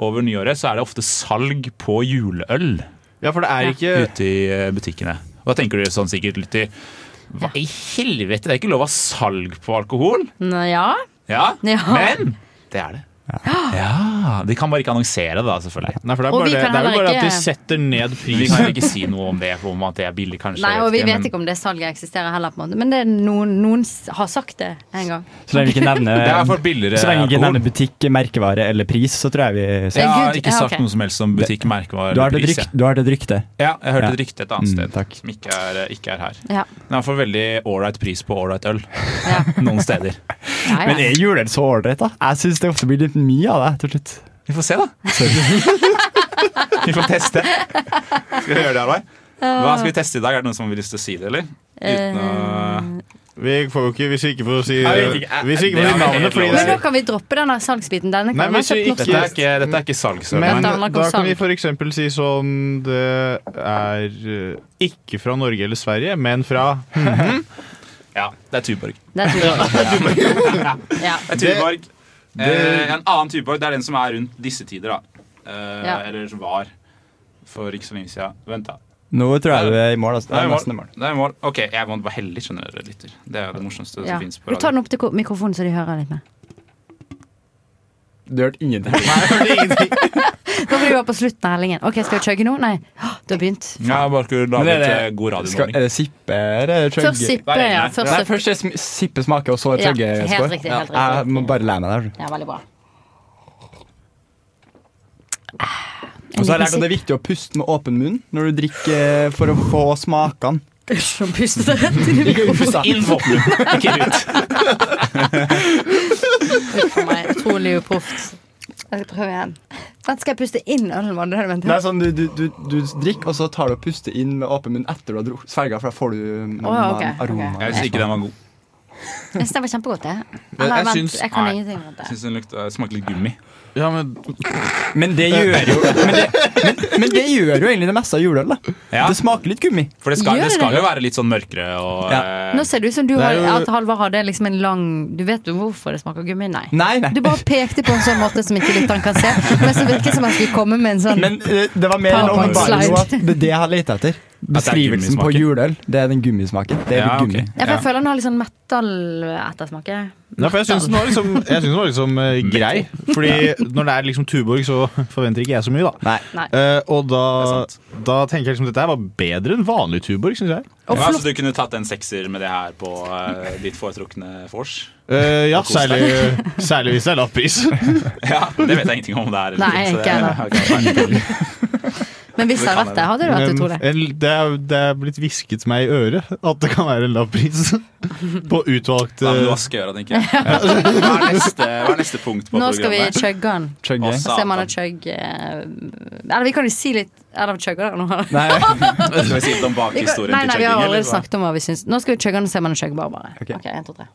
I: over nyåret så er det ofte salg på juleøl.
G: Ja, for det er ikke
I: Ute i eh, butikkene. Og da tenker du sånn sikkert litt i Hva i helvete, det er ikke lov å ha salg på alkohol?
H: Nå, ja.
I: Ja,
H: Ja.
I: men det er det. Ja, De kan bare ikke annonsere det, da, selvfølgelig.
G: Nei, for det er
H: Og
G: bare,
H: vi
G: det
H: kan
G: er vel
H: heller
G: bare at
H: ikke-
G: de setter ned
I: Vi
G: prisen.
I: kan jo ikke si noe om det, om at det er billig, kanskje.
H: Nei, og vi vet
I: men-
H: ikke om det salget eksisterer heller, på en måte. men det er noen, noen s- har sagt det en gang.
M: Så lenge vi ikke nevner,
I: Det er for billigere
M: så lenge vi ikke
I: alkohol.
M: nevner butikk, merkevare eller pris, så tror jeg vi
I: Jeg har
H: Gud,
I: ikke
H: ja,
I: sagt
H: ok.
I: noe som helst om butikk, merkevare
M: Du har hørt et
I: pris,
M: rykte. Du har hørt et rykte.
I: Ja, jeg hørte
M: Ja.
I: et rykte et annet
M: Mm,
I: sted
M: takk.
I: som ikke er, eh, ikke er her.
H: Ja.
I: Men jeg får veldig ålreit pris på ålreit øl noen steder.
H: Ja,
M: Men er julen så ålreit, da? Jeg syns det ofte blir litt mye av det til slutt.
I: Vi får se, da. Vi får teste. Skal vi gjøre det, Arvei? Hva skal vi teste i dag? Er det noen som har lyst til å si det, eller? Uten å
H: Eh,
G: Vi får jo ikke, hvis vi ikke får si,
I: Nei, jeg vet ikke.
G: hvis vi ikke
I: Det
G: får si
I: er helt
G: navnet fordi
H: Men
G: det
H: nå kan vi droppe den der salgsbiten. Denne kan
G: Nei,
H: vi
G: hvis vi
H: ikke
G: ikke-
I: Dette er ikke, dette er ikke salgsøl.
G: Men
H: Dette
G: da
H: handler ikke om
G: kan
H: salg.
G: vi f.eks. si sånn Det er eh, ikke fra Norge eller Sverige, men fra
I: Ja, det er Tuborg.
H: Det er Tuborg. Ja.
I: Det er Tuborg.
G: Det- det-
I: Eh, en annen Tuborg, det er den som er rundt disse tider, da. Eh,
H: Ja.
I: Eller som var for ikke så lenge siden. Vent, da.
M: Nå tror jeg du er i mål. Altså.
I: Det er i
M: nesten i
I: mål. Det er i mål. Ok, jeg må være heldig, skjønner dere, lytter. Det er jo det morsomste
H: Ja.
I: som fins på
H: Du tar
I: radio.
H: den opp til ko- mikrofonen, så de hører litt mer.
M: Du hørte ingenting.
H: Det var fordi du var på slutten av hellingen. Ok, Skal vi chugge nå? Nei. Åh, Du har begynt.
I: Ja, jeg bare skulle
M: Men
I: lage
M: er det-
I: et eh, god
M: Skal,
I: radiomåling.
M: er det sippe eller chugge?
H: Først sippe, ja.
M: Nei,
H: Først sippe.
M: først er sm- sippe smaker, og så er
H: Ja,
M: chugge.
H: helt
M: etterpå.
H: riktig, helt
M: Ja.
H: riktig.
M: Jeg må bare lære meg det. altså.
H: Ja, veldig bra.
M: Og så har jeg lært at det er viktig å puste med åpen munn når du drikker, eh, for å få smakene.
H: Som pustet deg rett inn i
M: Ikke utpustet.
H: mikrofonen.
M: Inn
I: våpen, ikke
M: ut.
H: Uff a meg. Utrolig uproft. Jeg skal prøve igjen. Den skal jeg puste inn ølen, var det det du mente?
M: Nei, sånn, du, du, du, du drikker, og så tar du og puster inn med åpen munn etter du har drukket svelga, for da får du mm,
H: Å, ja, ok, ok.
M: aroma.
I: Jeg syns ikke den var god.
H: Jeg syns den var kjempegodt, det.
I: Jeg-
H: Eller,
I: jeg
H: vent,
I: syns-
H: jeg kan
I: nei.
H: ingenting om
I: Jeg
H: det.
I: syns den lukta- smaker litt gummi.
G: Ja, men
M: Men det gjør jo men det, men, men det gjør jo egentlig det meste av juleøl. da. Det smaker litt gummi.
I: For det skal,
H: Gjør
I: det
H: det?
I: skal jo være litt sånn mørkere og eh,
H: Nå ser det ut som du
I: Det er
H: har,
I: jo-
H: at Halvard hadde liksom en lang Du vet jo hvorfor det smaker gummi? Nei.
M: Nei, nei.
H: Du bare pekte på en sånn måte som ikke lytteren kan se, men som virker som han skulle komme med en sånn
M: Men eh, det var mer en
H: PowerPoint
M: åpenbaring nå
H: slide.
M: at det er det jeg har leta etter. Beskrivelsen på
I: gummismaken.
M: juleøl, det er den gummismaken. Det er
G: Ja,
M: litt
G: ok.
M: gummi.
H: Ja, for jeg
G: Ja.
H: føler han har litt sånn metal-ettersmake.
G: Nei, for jeg syns den var liksom, jeg synes den var liksom eh, grei. Fordi når det er liksom Tuborg, så forventer ikke jeg så mye, da.
H: Nei.
G: Eh, og da, da tenker jeg liksom dette her var bedre enn vanlig Tuborg, syns jeg.
I: ja, Så du kunne tatt en sekser med det her på eh, ditt foretrukne vors?
G: Eh, ja,
I: Og kos
G: særlig,
I: deg.
G: særlig hvis det er lappris.
I: Ja, det vet jeg ingenting om det er.
H: Nei, ikke jeg da. Men hvis det hadde vært det, hadde det vært utrolig.
G: Eh, en- det, er, det er blitt hvisket meg i øret at det kan være en lappris på eh, utvalgte
I: Da må du vaske øra, tenker jeg. Hva er neste, hva er neste punkt på
H: Nå skal vi
I: programmet?
H: chugge han.
M: Chugge.
I: Å,
H: Se om han
I: satan.
H: har chugg eh, Eller vi kan jo si litt Eller chugger han nå?
M: Nei.
I: Skal vi si
H: Vi
I: litt om
H: kan-
I: bakhistorien
H: Nei, nei, vi har
I: chugging,
H: allerede
I: eller hva?
H: snakket om hva vi syns. Nå skal vi chugge han og se om han er chuggbar, bare. Ok, en, to, tre.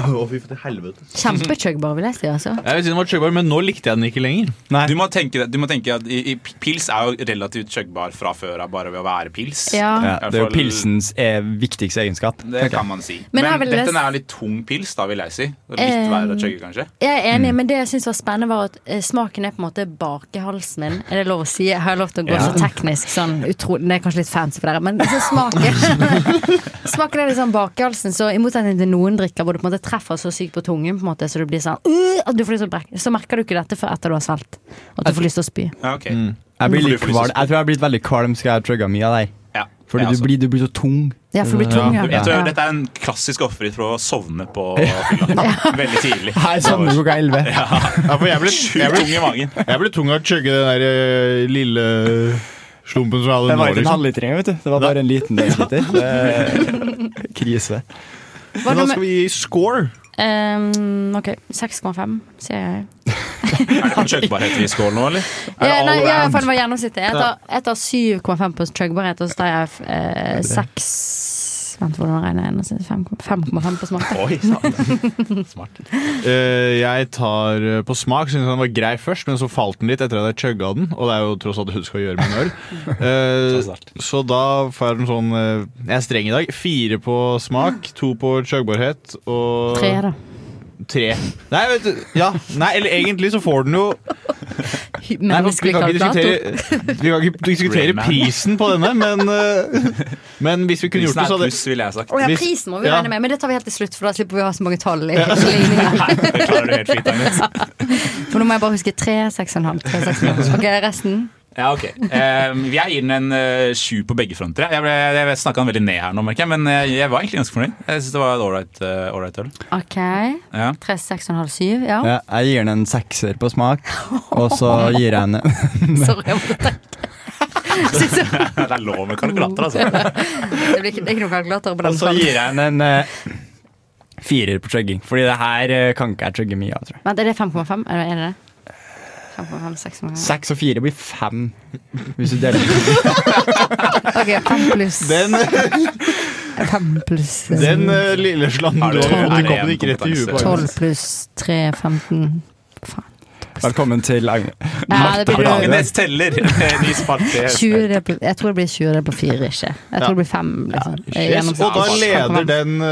G: Å, fy til helvete.
H: Kjempechuggbar, vil jeg si, altså.
G: Jeg vet ikke om den var chuggbar, men nå likte jeg den ikke lenger.
I: Du må tenke, du må tenke at i, i, Pils er jo relativt chuggbar fra før av bare ved å være pils.
H: Ja.
M: Ja, det er jo
I: Iallfall-
M: pilsens eh, viktigste egenskap.
I: Det kan man si.
H: Men
I: Men,
H: her vil jeg-
I: dette er litt tung pils, da, vil jeg si. Litt
H: Eh,
I: verre å chugge, kanskje.
H: Jeg er enig, men det jeg syns var spennende, var at eh, smaken er på en måte bak i halsen min. Er det lov å si? Jeg har lov til å gå
M: Ja.
H: så teknisk sånn utrolig Det er kanskje litt fancy for dere, men altså, smaken Smaken er liksom bak i halsen, så i motsetning til noen drikker hvor du på en måte treffer så sykt på tungen, på en måte, så du blir sånn «Øh», at du får lyst til å brekke Så merker du ikke dette før etter du har svelget. At du får lyst til å spy.
I: Ja, ok.
M: Jeg, blir
I: Hvorfor
M: litt
I: du får lyst til å
M: kvalm. jeg tror jeg har blitt veldig kvalm skal jeg ha chugga mye av deg.
I: Ja,
M: Fordi
I: ja,
M: du, blir, du blir så tung.
H: Ja, for du blir tung, ja.
I: Jeg tror
H: Ja.
I: Dette er en klassisk offerhvitt for å sovne på fylla. Veldig tidlig.
M: Her sovner klokka elleve.
G: Ja, for jeg ble, jeg
I: Sjukt
G: ble,
I: tung i magen.
G: jeg ble tung av å chugge den der eh, lille slumpen som jeg hadde
M: Det var
G: nå.
M: ikke en
G: Liksom.
M: halvliter engang, vet du. Det var bare en liten deliliter. Det er Krise.
H: Hva
G: Men da
H: nummer-
G: skal vi gi score.
H: Ehm, ok, 6,5, sier jeg.
I: Er det chuggbarheter i skål nå, eller? Er det
H: Ja, nei,
I: all
H: ja,
I: around?
H: for det var gjennomsnittet. Jeg tar, jeg tar 7,5 på chuggbarhet, og så tar jeg eh, 6 spent på hvordan regner jeg. 5,5 på smak.
G: Oi, Eh, jeg tar eh, på smak, syntes den var grei først, men så falt den litt etter at jeg chugga den. Og det er jo tross alt hun skal gjøre med en øl. Eh, så da får jeg den sånn eh, Jeg er streng i dag. Fire på smak, to på chuggbarhet og
H: Tre, da.
G: Tre. Nei, vet du, ja. Nei, eller egentlig så får den jo Nei, for vi, kan ikke
H: Menneskelig
G: diskutere, vi kan ikke diskutere
I: Rayman.
G: prisen på denne, men, eh, men hvis vi kunne gjort
I: Prisen
G: det, så
I: er
G: hadde
I: pluss, ville jeg sagt.
H: Å ja,
G: Hvis-
H: prisen må vi
G: ja.
H: regne med, men det tar vi helt til slutt, for da slipper vi å ha så mange tall. I,
G: Ja.
H: i ligningen.
I: Det klarer du helt fint, Agnes.
H: for nå må jeg bare huske 3, 6,5, 3, 6,5. Ok, resten?
I: Ja, ok. Um, jeg gir den en eh, sju på begge fronter. Jeg, ble, jeg snakka den veldig ned her nå, merker jeg, men jeg, jeg var egentlig ganske fornøyd. Jeg synes det var et ålreit eh, ålreit øl.
H: Ok.
I: Ja.
H: 3, 6,5, 7. Ja.
M: Ja, jeg gir den en sekser på smak, og så gir jeg en
H: Sorry, jeg måtte tenke.
I: det er lov med kalkulator, altså.
H: Det blir ikke, det er ikke noen kalkulator på
M: Og
H: den.
M: så
H: fronten.
M: gir jeg en en eh, firer på chugging, fordi det her eh, kan ikke jeg chugge mye av, tror jeg.
H: Vent, er det 5,5? Er det- Er det det? 5,5, 6,5.
M: Seks og fire blir fem, hvis du deler.
H: Ok, 5 pluss.
G: Den,
H: 5 pluss.
G: den eh, lille slangen
M: Tolv.
G: i koppen gikk rett i huet på
H: 12
G: Agnes.
H: pluss 3, 15.
M: Velkommen til Agne.
H: Nei, det blir
M: Martha.
I: Agnes teller! Ny spalt det.
H: 20 det på, jeg tror det blir 20 det på 4, ikke? Jeg tror det blir 5. Liksom. Eh,
G: Yes, og da
H: gjennomsnittlig.
G: leder
H: 5,5.
G: den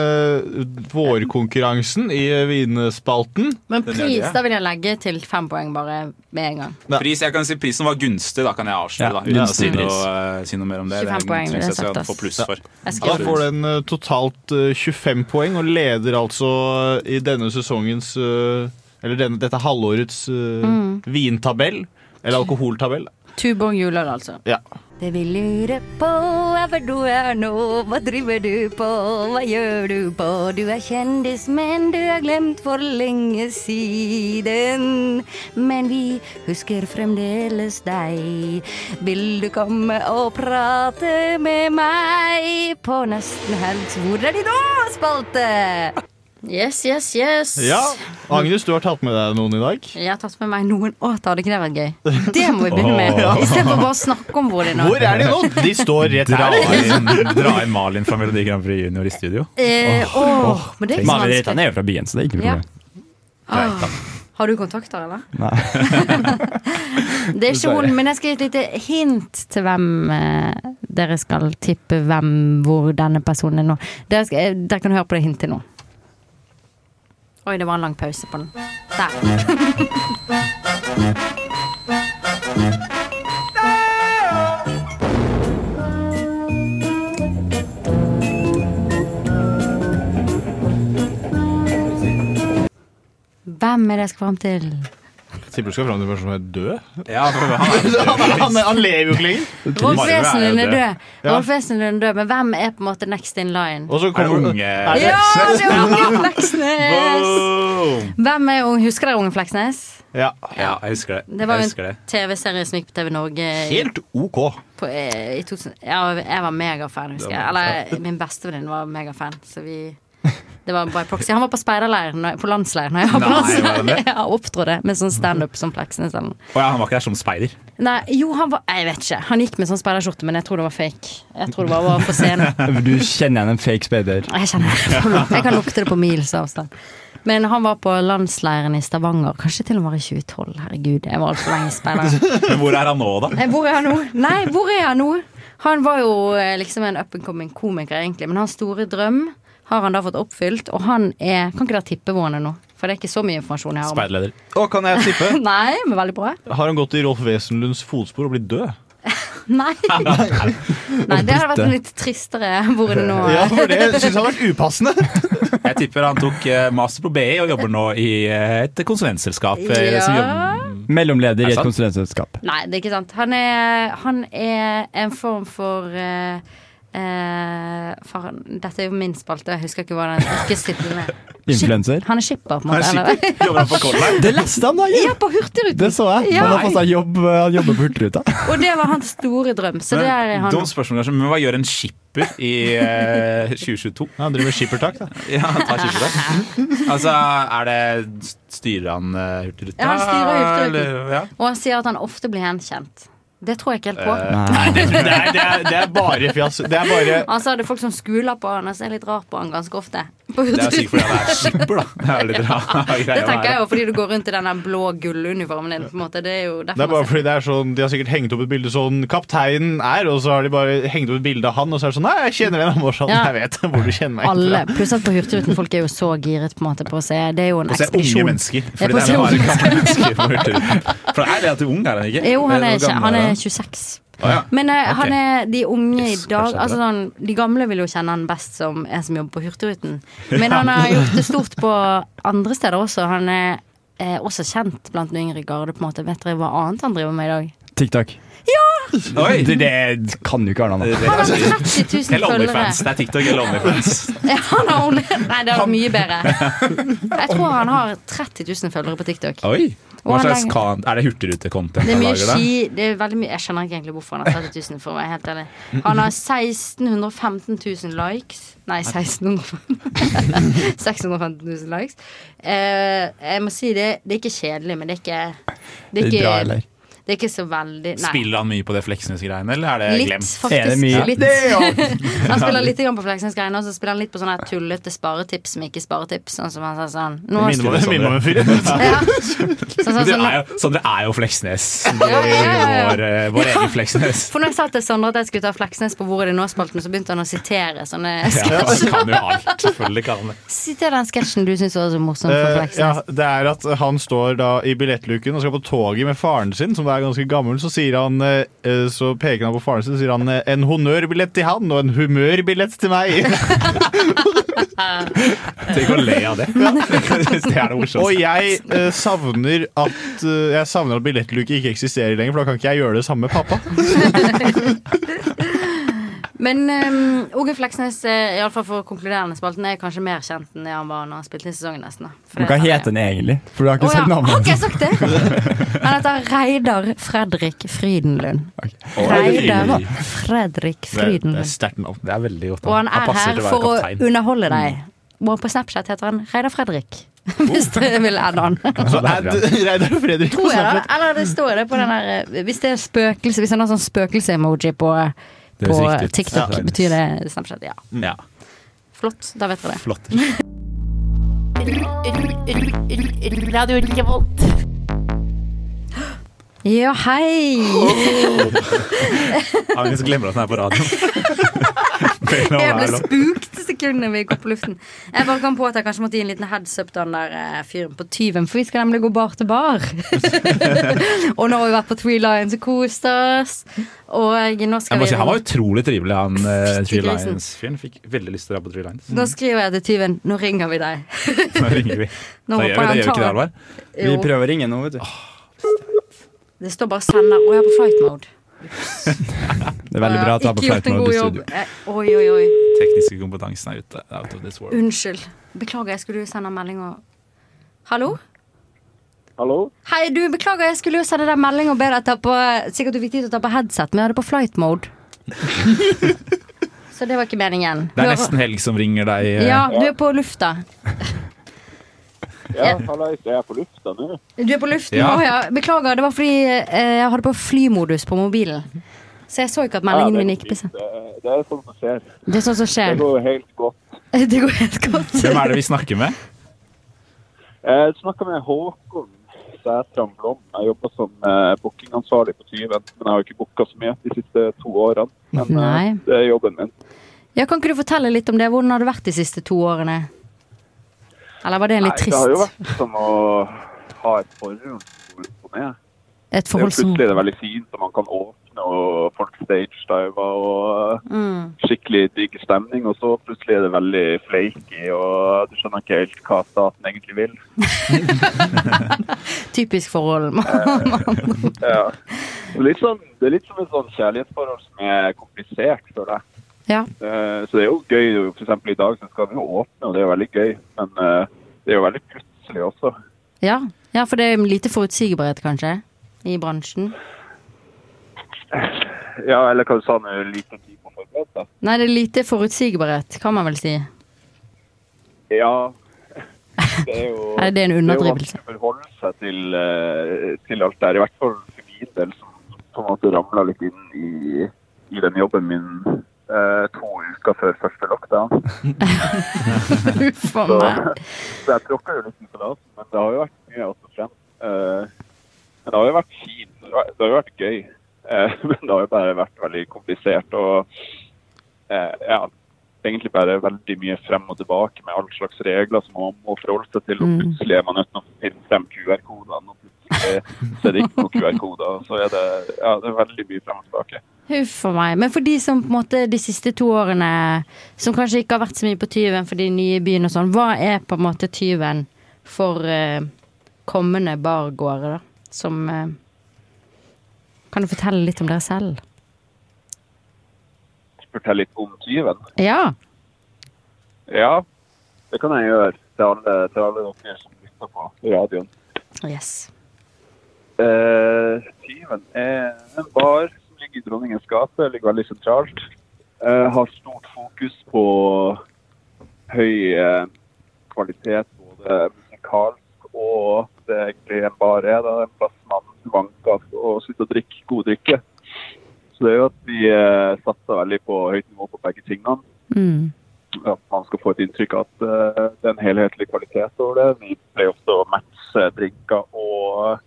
G: eh, vårkonkurransen i eh, vinspalten.
H: Men pris, da vil jeg legge til 5 poeng bare med en gang.
I: Pris, jeg kan si Prisen var gunstig, da kan jeg
G: Ja,
I: avsløre. da, uten å
G: gunstig
I: si noe,
G: pris.
I: eh, si noe mer om det.
H: 25 poeng ville jeg sagt,
I: jeg skal
H: ass.
I: få pluss for.
H: Jeg
G: Da
H: skriver
G: får den eh, totalt eh, 25 poeng og leder altså eh, i denne sesongens eh, Eller denne, dette halvårets eh,
H: Mm.
G: vintabell. Eller alkoholtabell.
H: Tuborg juleøl, altså.
G: Ja.
H: Det vi lurer på er hvor du er nå, hva driver du på, hva gjør du på? Du er kjendis, men du er glemt for lenge siden. Men vi husker fremdeles deg. Vil du komme og prate med meg på Nesten helg? Hvor er de nå, spalte? Yes, yes, yes.
G: ja. Agnes, du har tatt med deg noen i dag.
H: Jeg har tatt med meg noen. Å, da hadde ikke det vært gøy? Det må vi begynne med. Istedenfor bare å snakke om hvor de nå
G: Hvor er de nå? De står rett
I: Dra
G: der.
I: inn, dra inn Malin fra Melodi Grand Prix Junior i studio.
H: Eh, åh, men det er ikke så
M: Malin Reitan
H: vanskelig.
M: er jo fra byen, så det er ikke noe
H: Ja.
M: problem.
H: Ah, har du kontakter, eller?
M: Nei.
H: Det er ikke
M: Dessverre.
H: hun, men jeg skal gi et lite hint til hvem eh, dere skal tippe hvem, hvor denne personen er nå. Dere, skal, eh, dere kan høre på det hintet nå. Oi, det var en lang pause på den. Der. Hvem er det jeg skal fram til?
G: Tipper du skal fram til en person som er død?
I: Ja, for han,
G: han, han lever jo ikke lenger.
H: Rolf Wesenlund er død.
G: Ja.
H: Rolf Wesenlund er død, men hvem er på en måte next in line?
G: Og så kommer unge
H: Ja, det er Unge Fleksnes! Hvem er unge? Husker dere Unge Fleksnes?
G: Ja.
I: jeg husker det.
H: Det var
I: jeg
H: jo
I: husker det.
H: en TV-serie som gikk på TV Norge i-
G: Helt OK.
H: på, eh, i 2000. Ja, jeg var megafan, husker jeg. Eller min bestevenninne var megafan, så vi det var by proxy. Han var på speiderleir, når- på landsleir, når jeg var på
I: Nei, var han
H: landsleir.
I: det?
H: Ja, opptrådte med sånn standup som Fleksnes. eller noe.
I: Å ja, han var ikke der som speider.
H: Nei, jo, han var Jeg vet ikke. Han gikk med sånn speiderskjorte, men jeg tror det var fake. Jeg tror det bare var på scenen.
M: Du kjenner igjen en fake speider.
H: Jeg kjenner det. Jeg kan lukte det på mils avstand. Men han var på landsleiren i Stavanger, kanskje til og med i 2012. Herregud, jeg var altfor lenge speider.
I: Hvor er han nå, da?
H: Eh, Hvor er han nå? Nei, hvor er han nå? Han var jo eh, liksom en up and coming komiker, egentlig. Men hans store drøm har han da fått oppfylt, og han er Kan ikke dere tippe hvor han er nå? For det er ikke så mye informasjon jeg har. om-
G: Speiderleder. Og kan jeg tippe?
H: Nei, men veldig bra.
G: Har han gått i Rolf Wesenlunds fotspor og blitt død?
H: Nei. Nei, det hadde vært en litt tristere hvor det nå
G: Ja, for
H: er.
G: det synes jeg har vært upassende.
I: Jeg tipper han tok eh, master på BI og jobber nå i eh, et konsulentselskap. eh, som
H: Ja.
I: jobber-
M: Mellomleder i et
I: sant?
M: konsulentselskap.
H: Nei, det er ikke sant. Han er, han er en form for eh, eh, faen, dette er jo min spalte, jeg husker ikke hva den yrkestittelen er.
M: Influenser.
H: Han er skipper, på en
M: Han er
H: måte. eller?
I: Jobber han for Color
M: Det leste han da!
H: Ja, på Hurtigruten!
M: Det så jeg.
H: Ja.
M: Han har fått seg jobb, eh, han jobber på Hurtigruta.
H: Og det var hans store drøm. Så det er
I: Line?
H: han.
I: Dumt spørsmål, kanskje, men hva gjør en skipper i eh, 2022?
G: Han driver med skippertak, da.
I: Ja, han tar skippertak. Altså, er det Styrer han eh, Hurtigruta?
H: Ja, han styrer Hurtigruten.
I: eller- Ja.
H: Og han sier at han ofte blir gjenkjent. Det tror jeg ikke helt på.
G: Eh, nei, det, tror jeg- det, er, det, er, det er bare fjas. Det er bare
H: Han sa Altså, det er folk som skuler på han og ser litt rart på han ganske ofte. På
I: Det er sikkert fordi han er skipper, da. Det er jo litt rar greie
H: Det
I: å
H: tenker
I: være.
H: jeg jo fordi du går rundt i den der blå gulluniformen din. på en måte. Det er jo
G: Det er
H: derfor
G: bare
H: man
G: fordi det er sånn, De har sikkert hengt opp et bilde sånn kapteinen er, og så har de bare hengt opp et bilde av han, og så er det sånn Nei, jeg kjenner igjen Amorsan.
H: Ja.
G: Jeg vet hvor du kjenner meg.
H: ser alle. Pluss at på Hurtigruten folk er jo så giret på en måte på å se. Det er jo en
I: Å se
H: ekspedisjon.
I: unge mennesker.
H: Det er
I: Fordi
H: på å
I: det er
H: se
I: bare
H: unge
I: gamle mennesker på Hurtigruten. For er relativt ung, er han ikke?
H: Jo, han er,
I: Hvor
H: ikke,
I: gammel
H: han er
I: han?
H: 26.
I: Å, ja.
H: Men eh, han
I: Ok.
H: er de unge i dag
I: kanskje
H: altså,
I: det.
H: sånn, De gamle vil jo kjenne han best som en som jobber på Hurtigruten. Men han har gjort det stort på andre steder også. Han er eh, også kjent blant den yngre garde. på en måte Vet dere hva annet han driver med i dag?
M: TikTok.
H: Ja!
I: Oi.
M: Det, det kan jo ikke Arne.
I: Det-
H: Han har 30 000
I: Eller Onlyfans.
H: følgere.
I: Det er TikTok eller Onlyfans.
H: Han har only... Nei, det var mye bedre. Jeg tror han har 30 000 følgere på TikTok.
I: Oi!
H: Og
I: Hva
H: han
I: slags
H: er-
I: kan... Er det hurtigrutekontent
H: Det er
I: han
H: mye
I: lager, da?
H: ski det er veldig mye, Jeg skjønner ikke egentlig hvorfor han har 30 000, for å være helt ærlig. Han har 1615 000 likes. Nei, 1615 615 000 likes. Eh, jeg må si det, det er ikke kjedelig, men det er ikke Det er
I: Bra, eller?
H: ikke, det er ikke så veldig Nei.
I: Spiller han mye på det Fleksnes-greiene, eller er det
H: Litt,
I: glemt?
H: faktisk. Litt. han spiller
I: Ja.
H: litt grann på Fleksnes greiene, og så spiller han litt på sånne her tullete sparetips som ikke er sparetips. Sånn som han sa sånn Nå
I: Det minner om- det minner om en fyr.
H: Ja. Sånn,
I: Men
H: sånn,
I: du
H: sånn,
I: er jo, Sondre er jo Fleksnes.
H: ja, ja, ja.
I: Vår, eh, vår egen Fleksnes.
H: For når jeg sa til Sondre at jeg skulle ta Fleksnes på Hvor er det nå-spalten, så begynte han å sitere sånne
G: Ja,
I: altså,
G: han kan jo alt. Selvfølgelig kan han det.
H: Sitere den sketsjen du syns var så morsom for
G: Eh, ja,
H: Fleksnes.
G: det er at han står da i billettluken og skal på toget med faren sin, som er ganske gammel. Så, sier han, eh, eh, så peker han på faren sin og sier han, eh, en honnørbillett til han og en humørbillett til meg.
I: Tenk å le av det. det er det morsomste.
G: Og jeg eh, savner at eh, Jeg savner at billettluke ikke eksisterer lenger, for da kan ikke jeg gjøre det samme med pappa.
H: Men ehm, Åge Fleksnes, eh, i alle fall for å konkludere denne spalten, er kanskje mer kjent enn det han var når han spilte inn sesongen, nesten. da. For
M: Men
H: det-
M: Hva heter den egentlig? For du har
H: Å
M: ikke sagt
H: ja,
M: navnet.
H: har ikke jeg sagt det? Han heter Reidar Fredrik Frydenlund. Reidar Fredrik
G: Det er
H: Frydenlund.
G: sterkt navn. Det er veldig godt.
H: Og han er
G: passer
H: her
G: til å være
H: for å
G: kaptein. Mm.
H: underholde deg. Og på Snapchat heter han Reidar Fredrik. Hvis dere vil adde han.
G: Så er Altså, det Reidar og Fredrik på
H: Tror jeg da,
G: Snapchat.
H: eller det står det på den her eh, Hvis det er spøkelse Hvis han har sånn spøkelse-emoji på,
I: Det er
H: på
I: riktig.
H: TikTok,
I: Ja.
H: betyr det Snapchat. Ja.
I: Mm, Ja.
H: Flott. Da vet dere det.
I: Flott.
D: Radio Revolt.
H: Ja, hei!
I: Han liksom glemmer at han er på radioen.
H: Jeg ble spukt sekundene vi gikk opp på luften. Jeg bare kom på at jeg kanskje måtte gi en liten heads up til den der eh, fyren på tyven, for vi skal nemlig gå bar til bar. og nå har vi vært på Three Lions og kost oss. Og nå
I: Jeg
H: skal
I: må
H: vi
I: si, han var utrolig trivelig, han eh, Three
H: grisen.
I: Lions-fyren. Fikk veldig lyst til å dra på Three Lions.
H: Nå skriver jeg til tyven 'Nå ringer vi deg'.
I: Nå ringer vi.
H: Nå
I: Da
H: håper
I: gjør vi
H: han
I: det, gjør vi ikke det,
H: tar-
I: Alvar?
H: Vi Jo. prøver
M: å ringe nå, vet du.
H: Det står bare 'sender'. Å, jeg er på flight mode.
I: Det
M: er veldig bra at du er på
H: Ikke gjort
I: flight
H: en
I: mode
H: god
I: i
H: jobb.
I: studio.
H: Eh, Oi, oi, oi.
I: Tekniske kompetansen er ute. Out of this world.
H: Unnskyld. Beklager, jeg skulle jo sende en melding og Hallo?
K: Hallo?
H: Hei, du, beklager, jeg skulle jo sende deg en melding og be deg ta på Sikkert du fikk tid til å ta på headset, men jeg hadde på flight mode. Så det var ikke meningen.
I: Det er
H: Hører-
I: nesten helg som ringer deg. eh.
H: Ja, du er på lufta.
K: Ja, hallais, jeg er på lufta nå.
H: Du er på luften?
I: Ja.
H: Å ja. Beklager, det var fordi eh, jeg hadde på flymodus på mobilen. Så jeg så ikke at meldingen min gikk på send.
K: Det, eh, det er sånt som skjer.
H: Det er sånt som skjer.
K: Det går jo helt godt.
H: Det går helt godt.
I: Hvem er det vi snakker med?
K: Eh, Jeg snakka med Håkon Sætram Blom. Jeg jobber som eh, bookingansvarlig på Tyven, men jeg har jo ikke booka så mye de siste to årene. Men eh,
H: Nei.
K: det er jobben min.
H: Ja, Kan ikke du fortelle litt om det? Hvordan har det vært de siste to årene? Eller var det litt
K: Nei, det har jo
H: trist?
K: vært som å ha et forhold på meg.
H: Et
K: Det er jo
H: forhold som
K: plutselig det er veldig fint, og man kan åpne, og folk stagediver, og
H: Mm.
K: skikkelig digg stemning. Og så plutselig er det veldig flaky, og du skjønner ikke helt hva staten egentlig vil.
H: Typisk forhold.
K: Ja. Det er litt sånn, det er litt som et sånn kjærlighetsforhold som er komplisert, føler jeg.
H: ja.
K: Eh, Så det er jo gøy. For eksempel i dag så skal vi jo åpne, og det er jo veldig gøy. Men eh, det er jo veldig plutselig også.
H: Ja. ja, for det er lite forutsigbarhet, kanskje, i bransjen.
K: Ja, eller hva du sa nå, liten tid på forberedt da.
H: Nei, det er lite forutsigbarhet, kan man vel si.
K: Ja. Det er jo,
H: Nei, det er en
K: jo
H: underdrivelse.
K: vanskelig å forholde seg til, eh, til alt det her. I hvert fall for min del som på en måte ramla litt inn i, i den jobben min eh, to uker før første lockdown.
H: Uff a
K: så,
H: meg.
K: så jeg tråkka jo litt på det, altså, men det har jo vært mye opp og frem. Eh, men det har jo vært fint, det har- det har jo vært gøy. Eh, men det har jo bare vært veldig komplisert og eh, ja, egentlig bare veldig mye frem og tilbake med all slags regler som man må forholde seg til. Og
N: Mm.
K: plutselig er man nødt til å finne frem QR-kodene, og plutselig så er det ikke noen QR-koder. Så er det, ja, det er veldig mye frem og tilbake.
H: Huff a meg. Men for de som på en måte de siste to årene som kanskje ikke har vært så mye på tyven for de nye i byen og sånn, hva er på en måte tyven for eh, kommende bargåere, da? Som eh, Kan du fortelle litt om dere selv?
K: Fortell litt om tyven.
H: Ja.
K: Ja, det kan jeg gjøre til alle, til alle dere som lytter på radioen.
H: Yes.
K: Eh, Tyven er en bar som ligger i Dronningens gate, ligger veldig sentralt. Eh, har stort fokus på høy eh, kvalitet, både musikalsk og det er egentlig en bar er. Det er en plass man vanker og sitter og drikker god drikke. Så det er jo at vi eh, satser veldig på høyt nivå på begge tingene.
H: Mm.
K: At man skal få et inntrykk av at eh, det er en helhetlig kvalitet over det. Vi pleier ofte å matche drinker og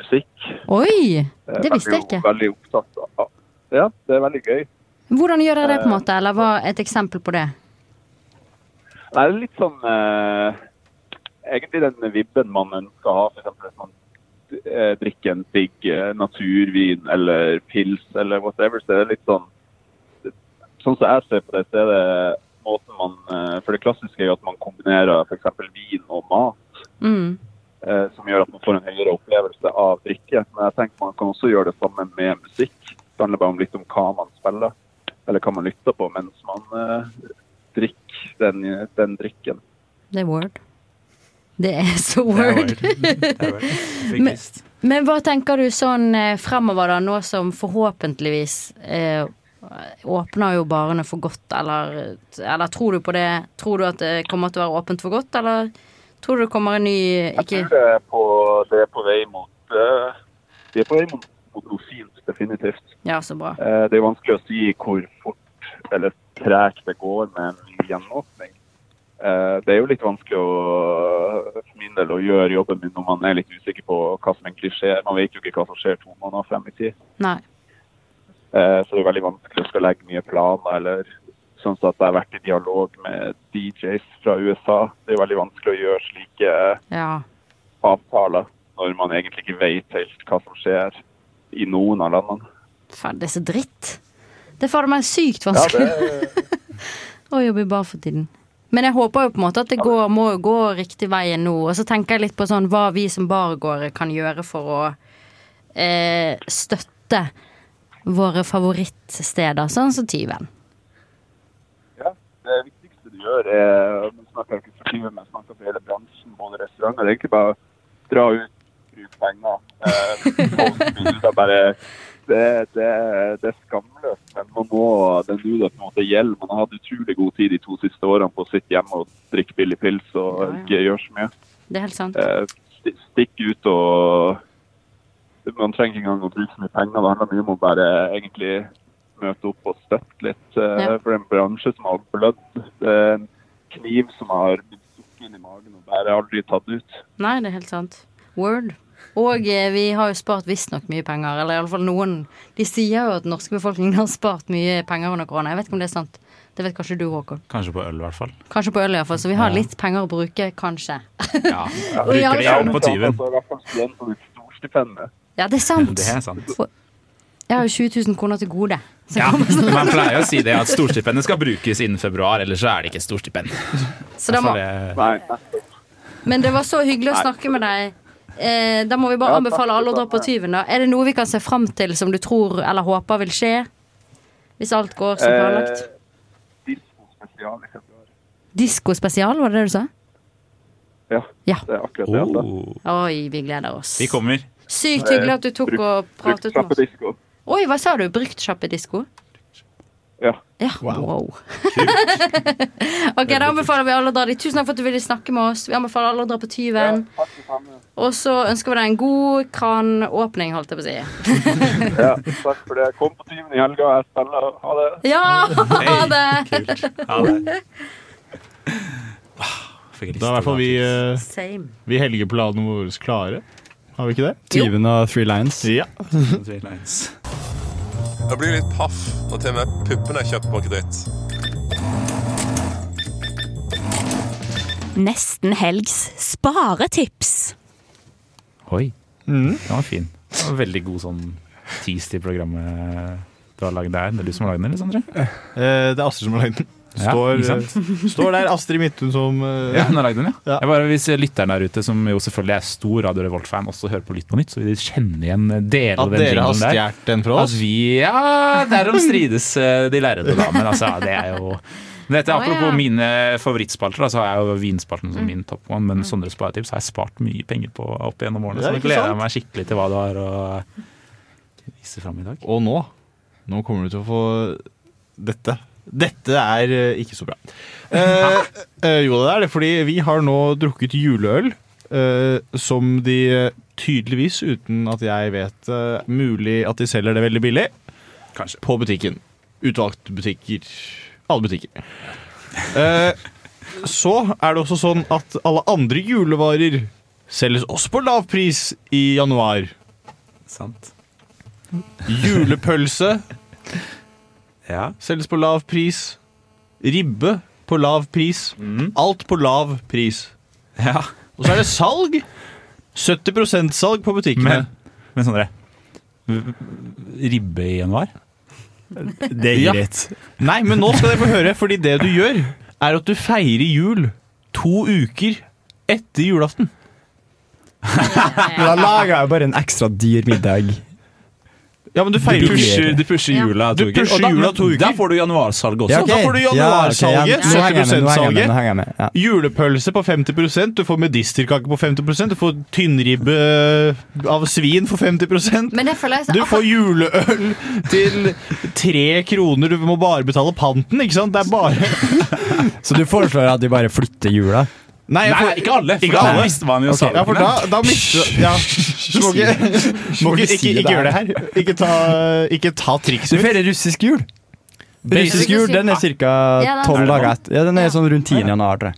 K: musikk.
H: Oi!
K: Eh,
H: Det visste jeg
K: veldig-
H: ikke.
K: Veldig opptatt av. Ja, det er veldig gøy.
H: Hvordan gjør dere det, på en måte? Eller hva et eksempel på det?
K: Nei, det er litt sånn eh, Egentlig den vibben man ønsker å ha, f.eks. hvis man eh, drikker en digg eh, naturvin eller pils eller whatever, så er det litt sånn Sånn som jeg ser på det, så er det måten man eh, For det klassiske er jo at man kombinerer f.eks. vin og mat.
H: Mm.
K: eh, som gjør at man får en høyere opplevelse av drikke. Men jeg tenker man kan også gjøre det samme med musikk. Det handler bare om litt om hva man spiller, eller hva man lytter på mens man eh, drikker den, den drikken.
H: Det er word. Det er så word. men, men hva tenker du sånn eh, fremover, da? Nå som forhåpentligvis eh, åpner jo barene for godt, eller, eller tror du på det? Tror du at det kommer til å være åpent for godt, eller tror du det kommer en ny
K: Jeg
H: ikke,
K: tror det er på, det er på vei mot eh, Vi er på vei mot, mot noe fint, definitivt.
H: Ja, så bra.
K: Eh, det er vanskelig å si hvor fort eller tregt det går med en ny gjenåpning. Eh, det er jo litt vanskelig å, for min del å gjøre jobben min når man er litt usikker på hva som egentlig skjer. Man vet jo ikke hva som skjer to måneder frem i tid.
H: Nei.
K: Eh, så det er veldig vanskelig å skal legge mye planer eller sånn som at jeg har vært i dialog med DJs fra USA. Det er veldig vanskelig å gjøre slike eh,
H: Ja.
K: avtaler når man egentlig ikke vet helt hva som skjer i noen av landene.
H: Faen, det er så dritt. Det er fader meg sykt vanskelig å jobbe i bar for tiden. Men jeg håper jo på en måte at det går, må jo gå riktig veien nå. Og så tenker jeg litt på sånn hva vi som bargåere kan gjøre for å eh, støtte våre favorittsteder, sånn som Tyven.
K: Det viktigste du gjør, er Nå snakker jeg ikke for livet, men jeg snakker for hele bransjen, både restauranter. Det er egentlig bare å dra ut, bruke penger. Eh, poste bilder, bare det, det, det er skamløst. Men man må, det er nå det på en måte gjelder. Man har hatt utrolig god tid de to siste årene på å sitte hjemme og drikke billig pils og ikke gjøre så mye.
H: Det er helt sant.
K: Eh, sti- stikk ut og Man trenger ikke engang å bruke så mye penger. Det handler mye om å bare egentlig møte opp og støtte litt. eh,
H: Ja.
K: For det er en bransje som har blødd. Det er en kniv som har blitt stukket inn i magen og bare aldri tatt ut.
H: Nei, det er helt sant. Word. Og eh, vi har jo spart visstnok mye penger, eller iallfall noen. De sier jo at den norske befolkningen har spart mye penger under korona. Jeg vet ikke om det er sant. Det vet kanskje du, Håkon.
I: Kanskje på øl, i hvert fall.
H: Kanskje på øl, iallfall. Så vi har
I: Ja.
H: litt penger å bruke, kanskje.
I: Ja.
H: Og i
I: Bruker
H: alle
I: det gjerne på
K: fall- Så
I: tyven.
K: altså, i hvert fall student på et stort stipend.
H: Ja, det er sant.
I: Det er sant.
H: For- Jeg har jo 20 000 kroner til gode. Så
I: Ja,
H: kommer sånn-
I: man pleier å si det at storstipendet skal brukes innen februar, ellers så er det ikke et storstipend.
H: Så da må- Men det var så hyggelig å
I: Nei.
H: snakke med deg. Eh, da må vi bare
I: Ja, takk
H: anbefale alle å dra
I: for
H: på tyven, da. Er det noe vi kan se fram til som du tror eller håper vil skje? Hvis alt går
I: Eh.
H: som planlagt.
K: Disko-spesial Eh, i februar.
H: Disko spesial, var det det du sa?
K: Ja,
H: det
K: er akkurat det.
H: Oh.
K: altså.
H: Oi, vi gleder oss.
I: Oh, Vi kommer.
H: Sykt hyggelig at du tok og pratet med oss.
K: Disko.
H: Oi, hva sa du? Brukt kjappe disko?
K: Ja.
H: Wow. Ok, Da anbefaler vi alle å dra dit. Tusen takk for at du ville snakke med oss. Vi anbefaler alle å dra på Tyven. Og så ønsker vi deg en god kranåpning, holdt jeg på å si.
K: ja. Takk for det. Kom på timen i helga. Jeg spiller. Ha det.
H: Ja! Ha det!
K: Ha det.
G: Da er i hvert fall vi, eh,
H: Same.
G: vi helgeplanene våre klare. Har vi ikke det?
P: Tyven og Three Lions.
G: Ja.
Q: Jeg blir litt paff når til og med puppene er kjøpt på kreditt.
F: Nesten helgs sparetips.
I: Oi. Den var fin. Det var veldig god sånn tease til programmet du har lagd der. Det er du som har lagd den, eller, Sondre?
G: Eh, Det er Astrid som har lagd den.
I: Ja,
G: Står,
I: ikke
G: eh,
I: sant?
G: står der Astrid Midthun som eh,
I: Ja, hun har lagd den, ja. Jeg bare, hvis lytteren der ute, som jo selvfølgelig er stor Radio Revolt-fan, også hører på Lytt på nytt, så vil de kjenne igjen deler
G: At
I: av den
G: dere har
I: jinglen der.
G: stjålet den fra oss?
I: At vi, ja, derom strides eh, de lærde, da. Men altså, det er jo men dette,
G: Å,
I: Apropos
G: ja. Mm.
I: mine favorittspalter, da, så har jeg jo vinspalten som min topp one. Men Sondres sparetips har jeg spart mye penger på opp gjennom årene.
G: Ja,
I: Så nå
G: ikke
I: gleder
G: sant?
I: jeg meg skikkelig til hva du har å vise fram i dag.
G: Og nå Nå kommer du til å få dette. Dette er eh, ikke så bra. Eh, eh, jo, det er det, fordi vi har nå drukket juleøl. eh, som de eh, tydeligvis, uten at jeg vet eh, Mulig at de selger det veldig billig. På butikken. Utvalgte butikker. Alle butikker. Eh, så er det også sånn at alle andre julevarer selges også på lav pris i januar.
I: Sant.
G: Julepølse selges på lav pris. Ribbe på lav pris. Alt på lav pris. Og så er det salg. 70 salg på butikkene.
I: Men Sondre, ribbe i januar?
G: Det er greit. Nei, men nå skal dere få høre, fordi det du gjør, er at du feirer jul to uker etter julaften.
P: Men da lager jeg jo bare en ekstra dyr middag.
G: Ja, men du
I: Du
G: feirer
I: pusher, du pusher jula to
G: Du
I: uker.
G: pusher
I: og da-
G: jula to
I: men
G: uker.
I: Da får du januarsalget også.
G: Ja, Da får du januarsalget, 70
P: med. Ja.
G: Julepølse på 50 du får medisterkake på 50 du får tynnribbe av svin for 50
H: Men det føler jeg så-
G: Du får juleøl til tre kroner, du må bare betale panten, ikke sant? Det er bare
P: Så du foreslår at vi bare flytter jula?
G: Nei, jeg får-
I: ikke alle, for
G: Ikke
I: da
G: alle.
I: mister man jo
G: Ok, Ja, for da, da mister du ja. Så må ikke, må ikke, ikke, ikke gjør det her. Ikke ta, ikke ta trikset
P: Du feirer russisk jul. Russisk jul den er ca.
H: Ja, den er-
P: tolv dager etter. Ja, den er sånn rundt 10. januar, tror jeg.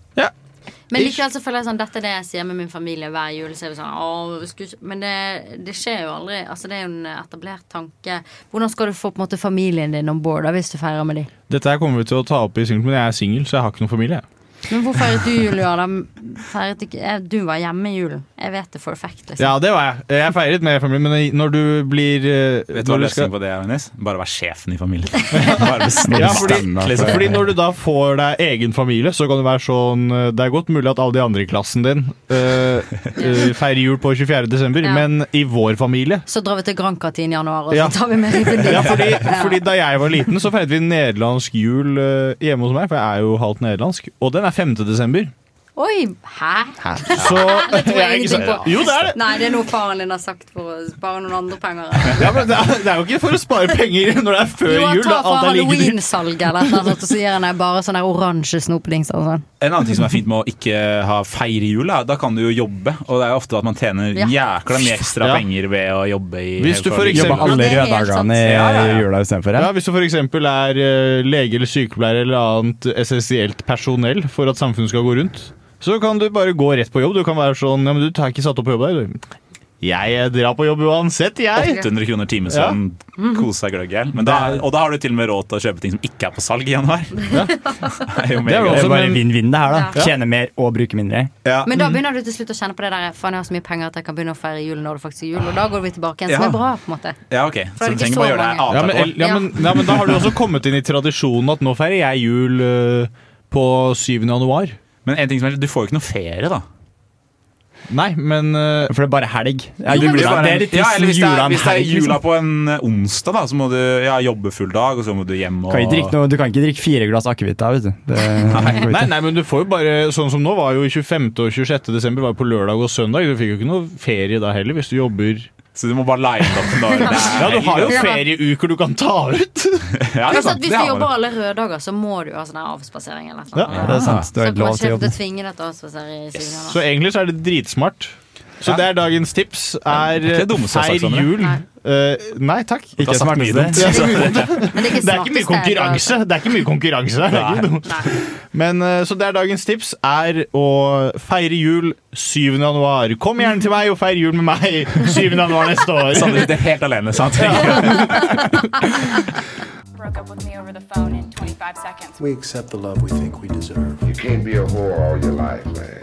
H: Men likevel så føler jeg sånn Dette er det jeg sier med min familie hver jul. Så er vi sånn, Åh, skulle ikke-" Men det, det skjer jo aldri. Altså Det er jo en etablert tanke. Hvordan skal du få på en måte familien din om board da, hvis du feirer med de?
G: Dette her kommer vi til å ta opp i singel, men jeg er singel, så jeg har ikke noen familie.
H: Men hvor feiret du jul i år, da? Feiret ikke eh, Du var hjemme i julen. Jeg vet det for a fact. Liksom.
G: Ja, det var jeg. Jeg feiret med familien, men når du blir eh, Vet
I: Vet du hva løsningen på det er, Jonis? Bare være sjefen i familien. Bare bestemme,
G: Ja, fordi,
I: liksom.
G: fordi når du da får deg egen familie, så kan det være sånn eh, Det er godt mulig at alle de andre i klassen din eh, eh, feirer jul på 24. desember,
H: Ja.
G: men i vår familie
H: Så drar vi til Gran Catine i januar, og
G: Ja.
H: så tar vi med ribben dit.
G: ja, fordi, fordi da jeg var liten, så feiret vi nederlandsk jul eh, hjemme hos meg, for jeg er jo halvt nederlandsk, og den er 5. desember.
H: Oi! Hæ?
G: Så
H: Det tror jeg ingenting på.
G: Jo, det er det!
H: Nei, det er noe faren din har sagt for å spare noen andre penger.
G: Ja, men det, er, det er jo ikke for å spare penger når det er før
H: Jo, han
G: jul. Da,
H: tar fra
G: alt er like dyrt.
H: halloweensalget eller noe sånt, og så gir han deg bare sånne oransje snopedingser og sånn.
I: En annen ting som er fint med å ikke ha feire jul, er at da kan du jo jobbe. Og det er jo ofte at man tjener
H: Ja.
I: jækla mye ekstra
G: Ja.
I: penger ved å jobbe i
G: Hvis du for eksempel-
P: Jobber alle Ja, det er helt røddagene i sant. jula istedenfor, ja.
G: Ja, hvis du f.eks. er eh, lege eller sykepleier eller annet essensielt personell for at samfunnet skal gå rundt, så kan du bare gå rett på jobb. Du kan være sånn Ja, men du tar ikke satt opp på jobb der, du. Jeg eh, drar på jobb uansett, jeg.
I: 800 kroner timen som koser deg gløgg i hjel. Men da- Og da har du til og med råd til å kjøpe ting som ikke er på salg i januar. Det er jo
P: Det er jo
I: mega-
P: bare vinn-vinn, det her. da
H: Ja.
P: Tjene mer og bruke mindre.
H: Men
G: Mm.
H: da begynner du til slutt å kjenne på det der Faen, jeg har så mye penger at jeg kan begynne å feire jul når det faktisk er jul. Og da går vi tilbake igjen, som
I: Ja.
H: er bra, på en måte.
I: Ja, ok.
H: For det er
I: Så du
H: ikke
I: trenger
H: så
I: bare gjøre det
H: mange.
G: Ja, men,
I: annethvert år.
G: el- ja, men, ja, men da har du også kommet inn i tradisjonen at nå feirer jeg jul eh, på 7. januar.
I: Men en ting som er, du får jo ikke noe ferie, da.
G: Nei, men eh,
P: For det er bare helg.
I: Ja, det blir bare-
P: litt
I: ja, eller hvis det er,
P: jula en
I: hvis det
P: helg,
I: er
P: liksom.
I: jula på en eh, onsdag, da, så må du ja, jobbe full dag, og så må du hjem og
P: Kan ikke drikke noe, du kan ikke drikke fire glass akevitt da, vet du. Det, går
G: Nei,
P: ikke.
G: nei, men du får jo bare Sånn som nå var jo 25. og 26. desember var jo på lørdag og søndag. Du fikk jo ikke noe ferie da heller, hvis du jobber
I: Så du må bare line opp når det er
G: Ja, du har jo
I: helg, da.
G: ferieuker du kan ta ut.
I: Ja, det er
H: Altså, at
I: sant.
H: hvis du
I: Det har man.
H: jobber alle røde dager, så må du ha sånn her avspasering eller noe.
G: Ja, det er sant. Du har et
H: så kommer
G: lov til å
H: sjefen til å
G: jobbe.
H: tvinge deg til å avspasere i signaler.
G: Så egentlig så er det dritsmart. Så det er dagens tips. Er
I: Det er ikke det dummeste jeg har
G: feir
I: sagt, Sondre.
G: jul.
H: Nei.
G: Eh, nei takk.
I: Det er smart
G: mye
I: mye
G: dumt.
I: dumt.
H: Men det er ikke
G: Det er ikke mye
H: smarteste jeg har hørt.
G: konkurranse. Det er ikke mye konkurranse. Det er ikke dumt. Men, eh, så det er dagens tips er å feire jul 7. januar. Kom gjerne til meg og feir jul med meg 7. januar neste år.
I: Sander sitter helt alene, sant?
R: broke up with me over the phone in 25 seconds.
P: We accept the love we think we deserve. You can't be a whore all your life, man.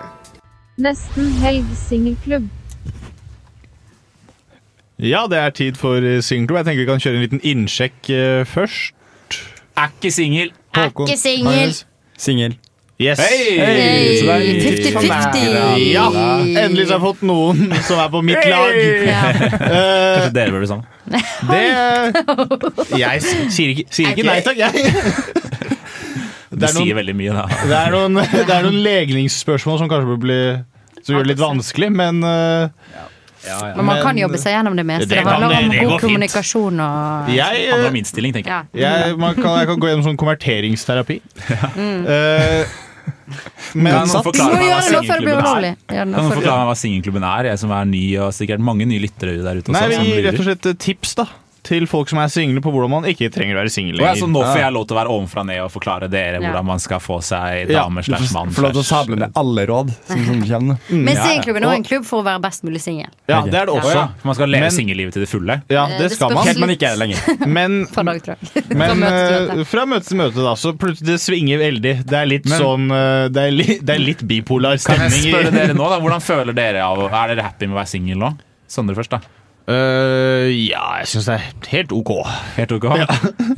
S: Nesten helg singelklubb.
G: Ja, det er tid for eh, singelklubb. Jeg tenker vi kan kjøre en liten innsjekk eh, først.
I: Er ikke singel.
H: Er ikke singel.
G: Singel. Yes.
I: Hei! Hei! Så det er- 50-50.
G: Ja, endelig så har jeg fått noen som er på mitt lag. Eh,
I: Kanskje dere bør bli sammen.
G: Det Jeg s- sier ikke, sier ikke nei takk, jeg.
I: Du
G: Det er noen-
I: sier veldig mye, da.
G: Det er noen, det er noen legningsspørsmål som kanskje burde bli Som gjør det litt vanskelig, men eh,
H: Men man kan jobbe seg gjennom det meste.
G: Det
H: Det,
G: kan
H: handler
G: det,
H: om
G: det går
H: god
G: fint.
H: kommunikasjon og
G: Jeg, eh, Handler om
I: innstilling, tenker
H: jeg.
G: Jeg, man kan, jeg kan gå gjennom sånn konverteringsterapi. Eh, men
I: Kan noen
H: Du
I: forklare
H: må
I: meg hva
H: gjøre det nå før det blir
I: singelklubben
H: ulovlig.
I: er?
H: Gjør
I: Kan
H: det nå
I: noen
H: før det-
I: forklare meg hva singelklubben er? Jeg som er ny, og sikkert mange nye lyttere der ute. Også,
G: Nei, vi
I: som
G: gir
I: lurer.
G: rett og slett eh, tips da til folk som er single, på hvordan man ikke trenger å være singel
I: Og jeg, så
G: lenger.
I: nå får jeg lov til å være ovenfra og ned og forklare
H: Ja.
I: dere hvordan man skal få seg
M: Ja,
I: dame
M: du får-
I: slash mann.
M: får lov til å sable ned alle råd som, som kommer.
H: Men singelklubben er også en klubb for å være best mulig singel.
G: Ja, det er det også.
I: Ja. Man skal leve
G: Men-
I: singellivet til det fulle.
G: Ja,
H: Eh,
G: det
H: det
G: skal
H: spørs
G: man.
H: Helt man ikke er det
G: lenger. Men,
H: Fra dag til dag. Fra
G: men
H: møte til
G: eh,
H: møte.
G: fra møte til møte, da, så plutselig det svinger veldig. Det er litt
I: Men-
G: sånn eh, det er, li, det er litt bipolar
I: Kan jeg
G: stemning i-
I: spørre dere nå, da? Hvordan føler dere av Er dere happy med å være singel nå? Sondre først, da.
G: Eh, ja, jeg syns det er helt OK.
I: Helt ok?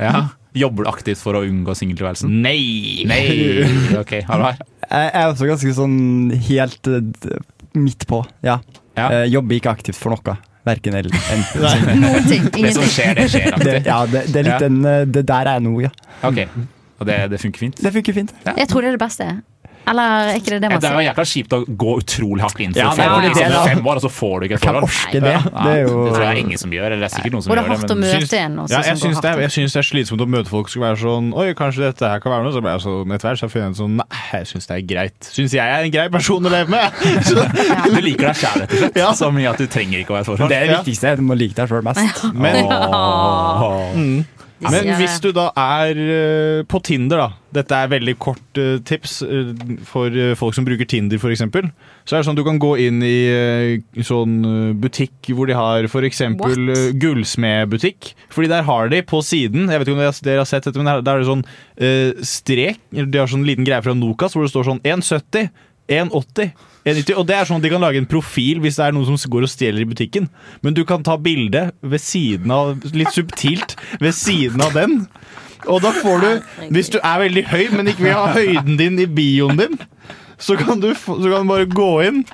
I: Ja. Jobber du aktivt for å unngå singeltilværelsen?
G: Nei!
I: Nei. Ok, Halvard?
M: Jeg er også ganske sånn helt eh, d- midt på, ja. Eh, jobber ikke aktivt for noe. Verken eller. enn.
I: Noen ting, Det som ingenting. skjer, det skjer alltid.
M: Det- Ja, det, det er litt
I: Ja.
M: den eh, Det der er jeg nå, ja.
I: Ok, Og det, det funker fint?
M: Det funker fint.
H: Jeg tror det er det beste. Eller er ikke det det
I: Ja,
H: man
I: Det er jo
H: sier?
I: jækla kjipt å gå utrolig hardt inn for
M: Ja,
I: et forhold
M: det er
I: i
M: det,
I: sånn
M: da.
I: fem år, og så får du ikke et
M: Kan
I: forhold.
M: orke det.
I: Ja,
M: Det er jo-
I: tror jeg ingen som gjør. Eller det er sikkert noen som
H: Og det
I: gjør
H: er
I: det.
H: hardt å møte
G: Syns-
H: en også
G: Ja, jeg
H: som går
G: syns det, er-
H: hardt
G: jeg syns det er slitsomt å møte folk som er sånn Oi, kanskje dette her kan være noe? Så ble jeg sånn etter hvert så finner jeg en sånn Nei, jeg syns det er greit. Syns jeg er en grei person å leve med.
I: Du liker deg sjæl, rett og slett. Så mye at du trenger ikke å være i et forhold.
M: Det er det viktigste. Du må like deg sjøl mest.
G: Men-
I: Åh.
G: Mm.
I: De
G: Men
I: sier-
G: hvis du da er eh, på Tinder, da Dette er veldig kort eh, tips eh, for eh, folk som bruker Tinder, f.eks. Så er det sånn du kan gå inn i eh, sånn eh, butikk hvor de har f.eks. eh, gullsmedbutikk. Fordi der har de på siden Jeg vet ikke om dere- dere har sett dette, men der, der er det sånn eh, strek eller De har sånn liten greie fra Nokas hvor det står sånn 1,70. 1,80. 1,90, Og det er sånn at De kan lage en profil hvis det er noen som går og stjeler i butikken. Men du kan ta bilde ved siden av litt subtilt ved siden av den. Og da får du Hvis du er veldig høy, men ikke vil ha høyden din i bioen din, så kan du, få- så kan du bare gå inn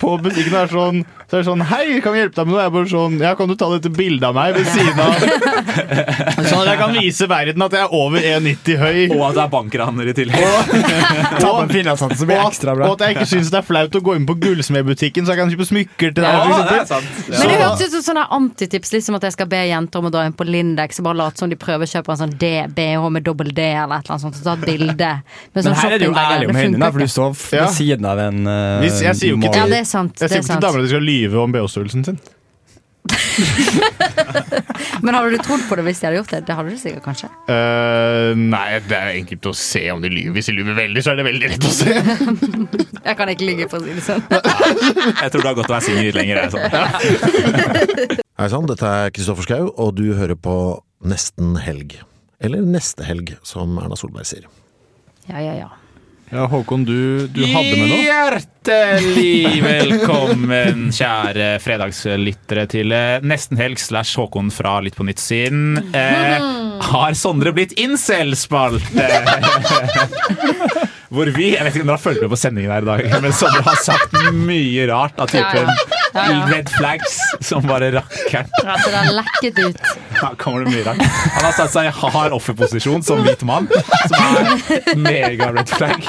G: på butikken og er sånn, så er det sånn Hei, kan vi hjelpe deg med noe? Jeg er bare sånn Ja, kan du ta dette bildet av meg ved siden av Sånn at jeg kan vise verden at jeg er over 1,90 høy.
I: Og at du er bankraner i tillegg.
M: Ta på en finlandshats, så blir det ekstra bra.
G: Og at jeg ikke syns det er flaut å gå inn på gullsmedbutikken, så jeg kan kjøpe smykker til deg.
I: Ja,
G: for
I: det er
G: eksempel.
I: sant.
G: Så-
H: Men det hørtes ut som sånn her antitips, liksom at jeg skal be jenter om å dra inn på Lindex og bare late som de prøver å kjøpe en sånn D, BH med dobbel D eller et eller annet sånt, og ta et bilde. med
M: Men
H: sånn
M: her er det jo
H: shoppingbag.
M: ærlig om
H: Det
M: hendene,
H: funker
M: for du
H: ikke.
M: står f- ved
G: Ja.
M: siden av en eh,
G: Hvis, jeg sier jo ikke
M: mal.
G: til,
H: Ja, det er sant,
G: jeg
H: det
G: sier jo ikke
H: er
G: til
H: sant.
G: damer at de skal lyve om BH-størrelsen sin.
H: Men hadde du trodd på det hvis de hadde gjort det? Det hadde du sikkert kanskje.
G: Eh, nei, det er enkelt å se om de lyver. Hvis de lyver veldig, så er det veldig lett å se.
H: Jeg kan ikke ligge på å si det sånn.
I: Jeg tror det har godt å være singel litt lenger. jeg, Sånn.
P: Hei sann, dette er Kristoffer Schau, og du hører på Nesten helg. Eller Neste helg, som Erna Solberg sier.
H: Ja, ja, ja.
G: Ja, Håkon, du, du hadde med noe?
I: Hjertelig velkommen, kjære fredagslyttere, til eh, Nesten helg slash Håkon fra Litt på nytt sin eh, Har Sondre blitt incel-spalte? Hvor vi Jeg vet ikke om dere har fulgt med på sendingen her i dag, men Sondre har sagt mye rart av typen
H: Ja, ja. Ja, ja.
I: red flags som bare rakkeren.
H: At det har lekket ut.
I: Her kommer det mye rart. Han har satt seg i hard offerposisjon som hvit mann, som er mega red flag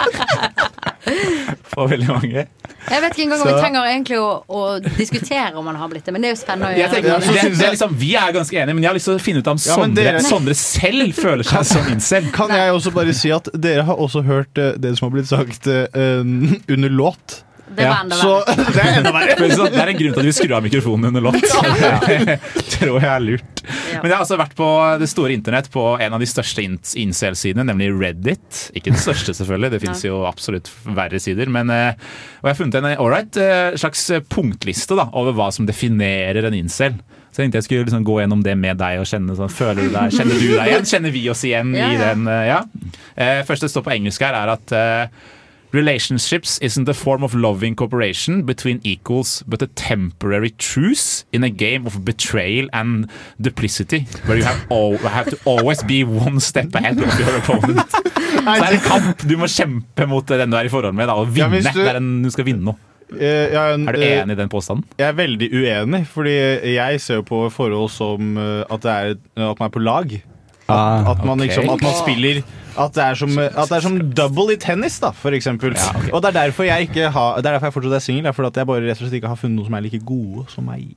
I: for veldig mange.
H: Jeg vet ikke engang om
I: Så-
H: vi trenger egentlig å, å diskutere om han har blitt det, men det er jo spennende. å
I: Jeg
H: gjøre.
I: tenker, det, det er liksom, vi er ganske enige, men jeg har lyst til å finne ut om
G: Ja, men
I: Sondre,
G: dere-
I: Sondre selv føler seg som incel.
G: Kan jeg også bare si at dere har også hørt eh, det som har blitt sagt eh, under låt.
I: Det var enda
G: Så det er enda verre.
I: Men sånn, Det er en grunn til at vi skrur av mikrofonen under låt. Det tror jeg er lurt. Men jeg har også vært på det store internett på en av de største in- incel-sidene, nemlig Reddit. Ikke den største, selvfølgelig, det fins
T: Nei.
I: jo absolutt verre sider. Men, eh, og jeg har funnet en all right, eh, slags punktliste da, over hva som definerer en incel. Så jeg tenkte jeg skulle liksom gå gjennom det med deg og kjenne sånn, føler du deg, kjenner du deg igjen? Kjenner vi oss igjen
T: Ja,
I: i
T: ja.
I: den? eh, ja. Eh, Første står på engelsk her er at eh, Relationships isn't a form of loving cooperation between equals, but a temporary truce in a game of betrayal and duplicity, where you have, al have to always be one step ahead of your opponent. Så det er en kamp du må kjempe mot den du er i forhold med, da, og
G: Ja,
I: vinne.
G: hvis du-
I: Det er en, du skal vinne noe.
G: Eh, ja, en-
I: Er du
G: eh,
I: enig i den påstanden?
G: Jeg er veldig uenig, fordi jeg ser jo på forhold som eh, at, det er, at man er på lag.
C: Ah,
G: At, at man
T: ok.
G: liksom At man spiller At det er som, at det er som double i tennis, da, for eksempel. Og det er derfor jeg ikke har Det er derfor jeg fortsatt er singel. Det er fordi at jeg bare rett og slett ikke har funnet noen som er like gode som meg.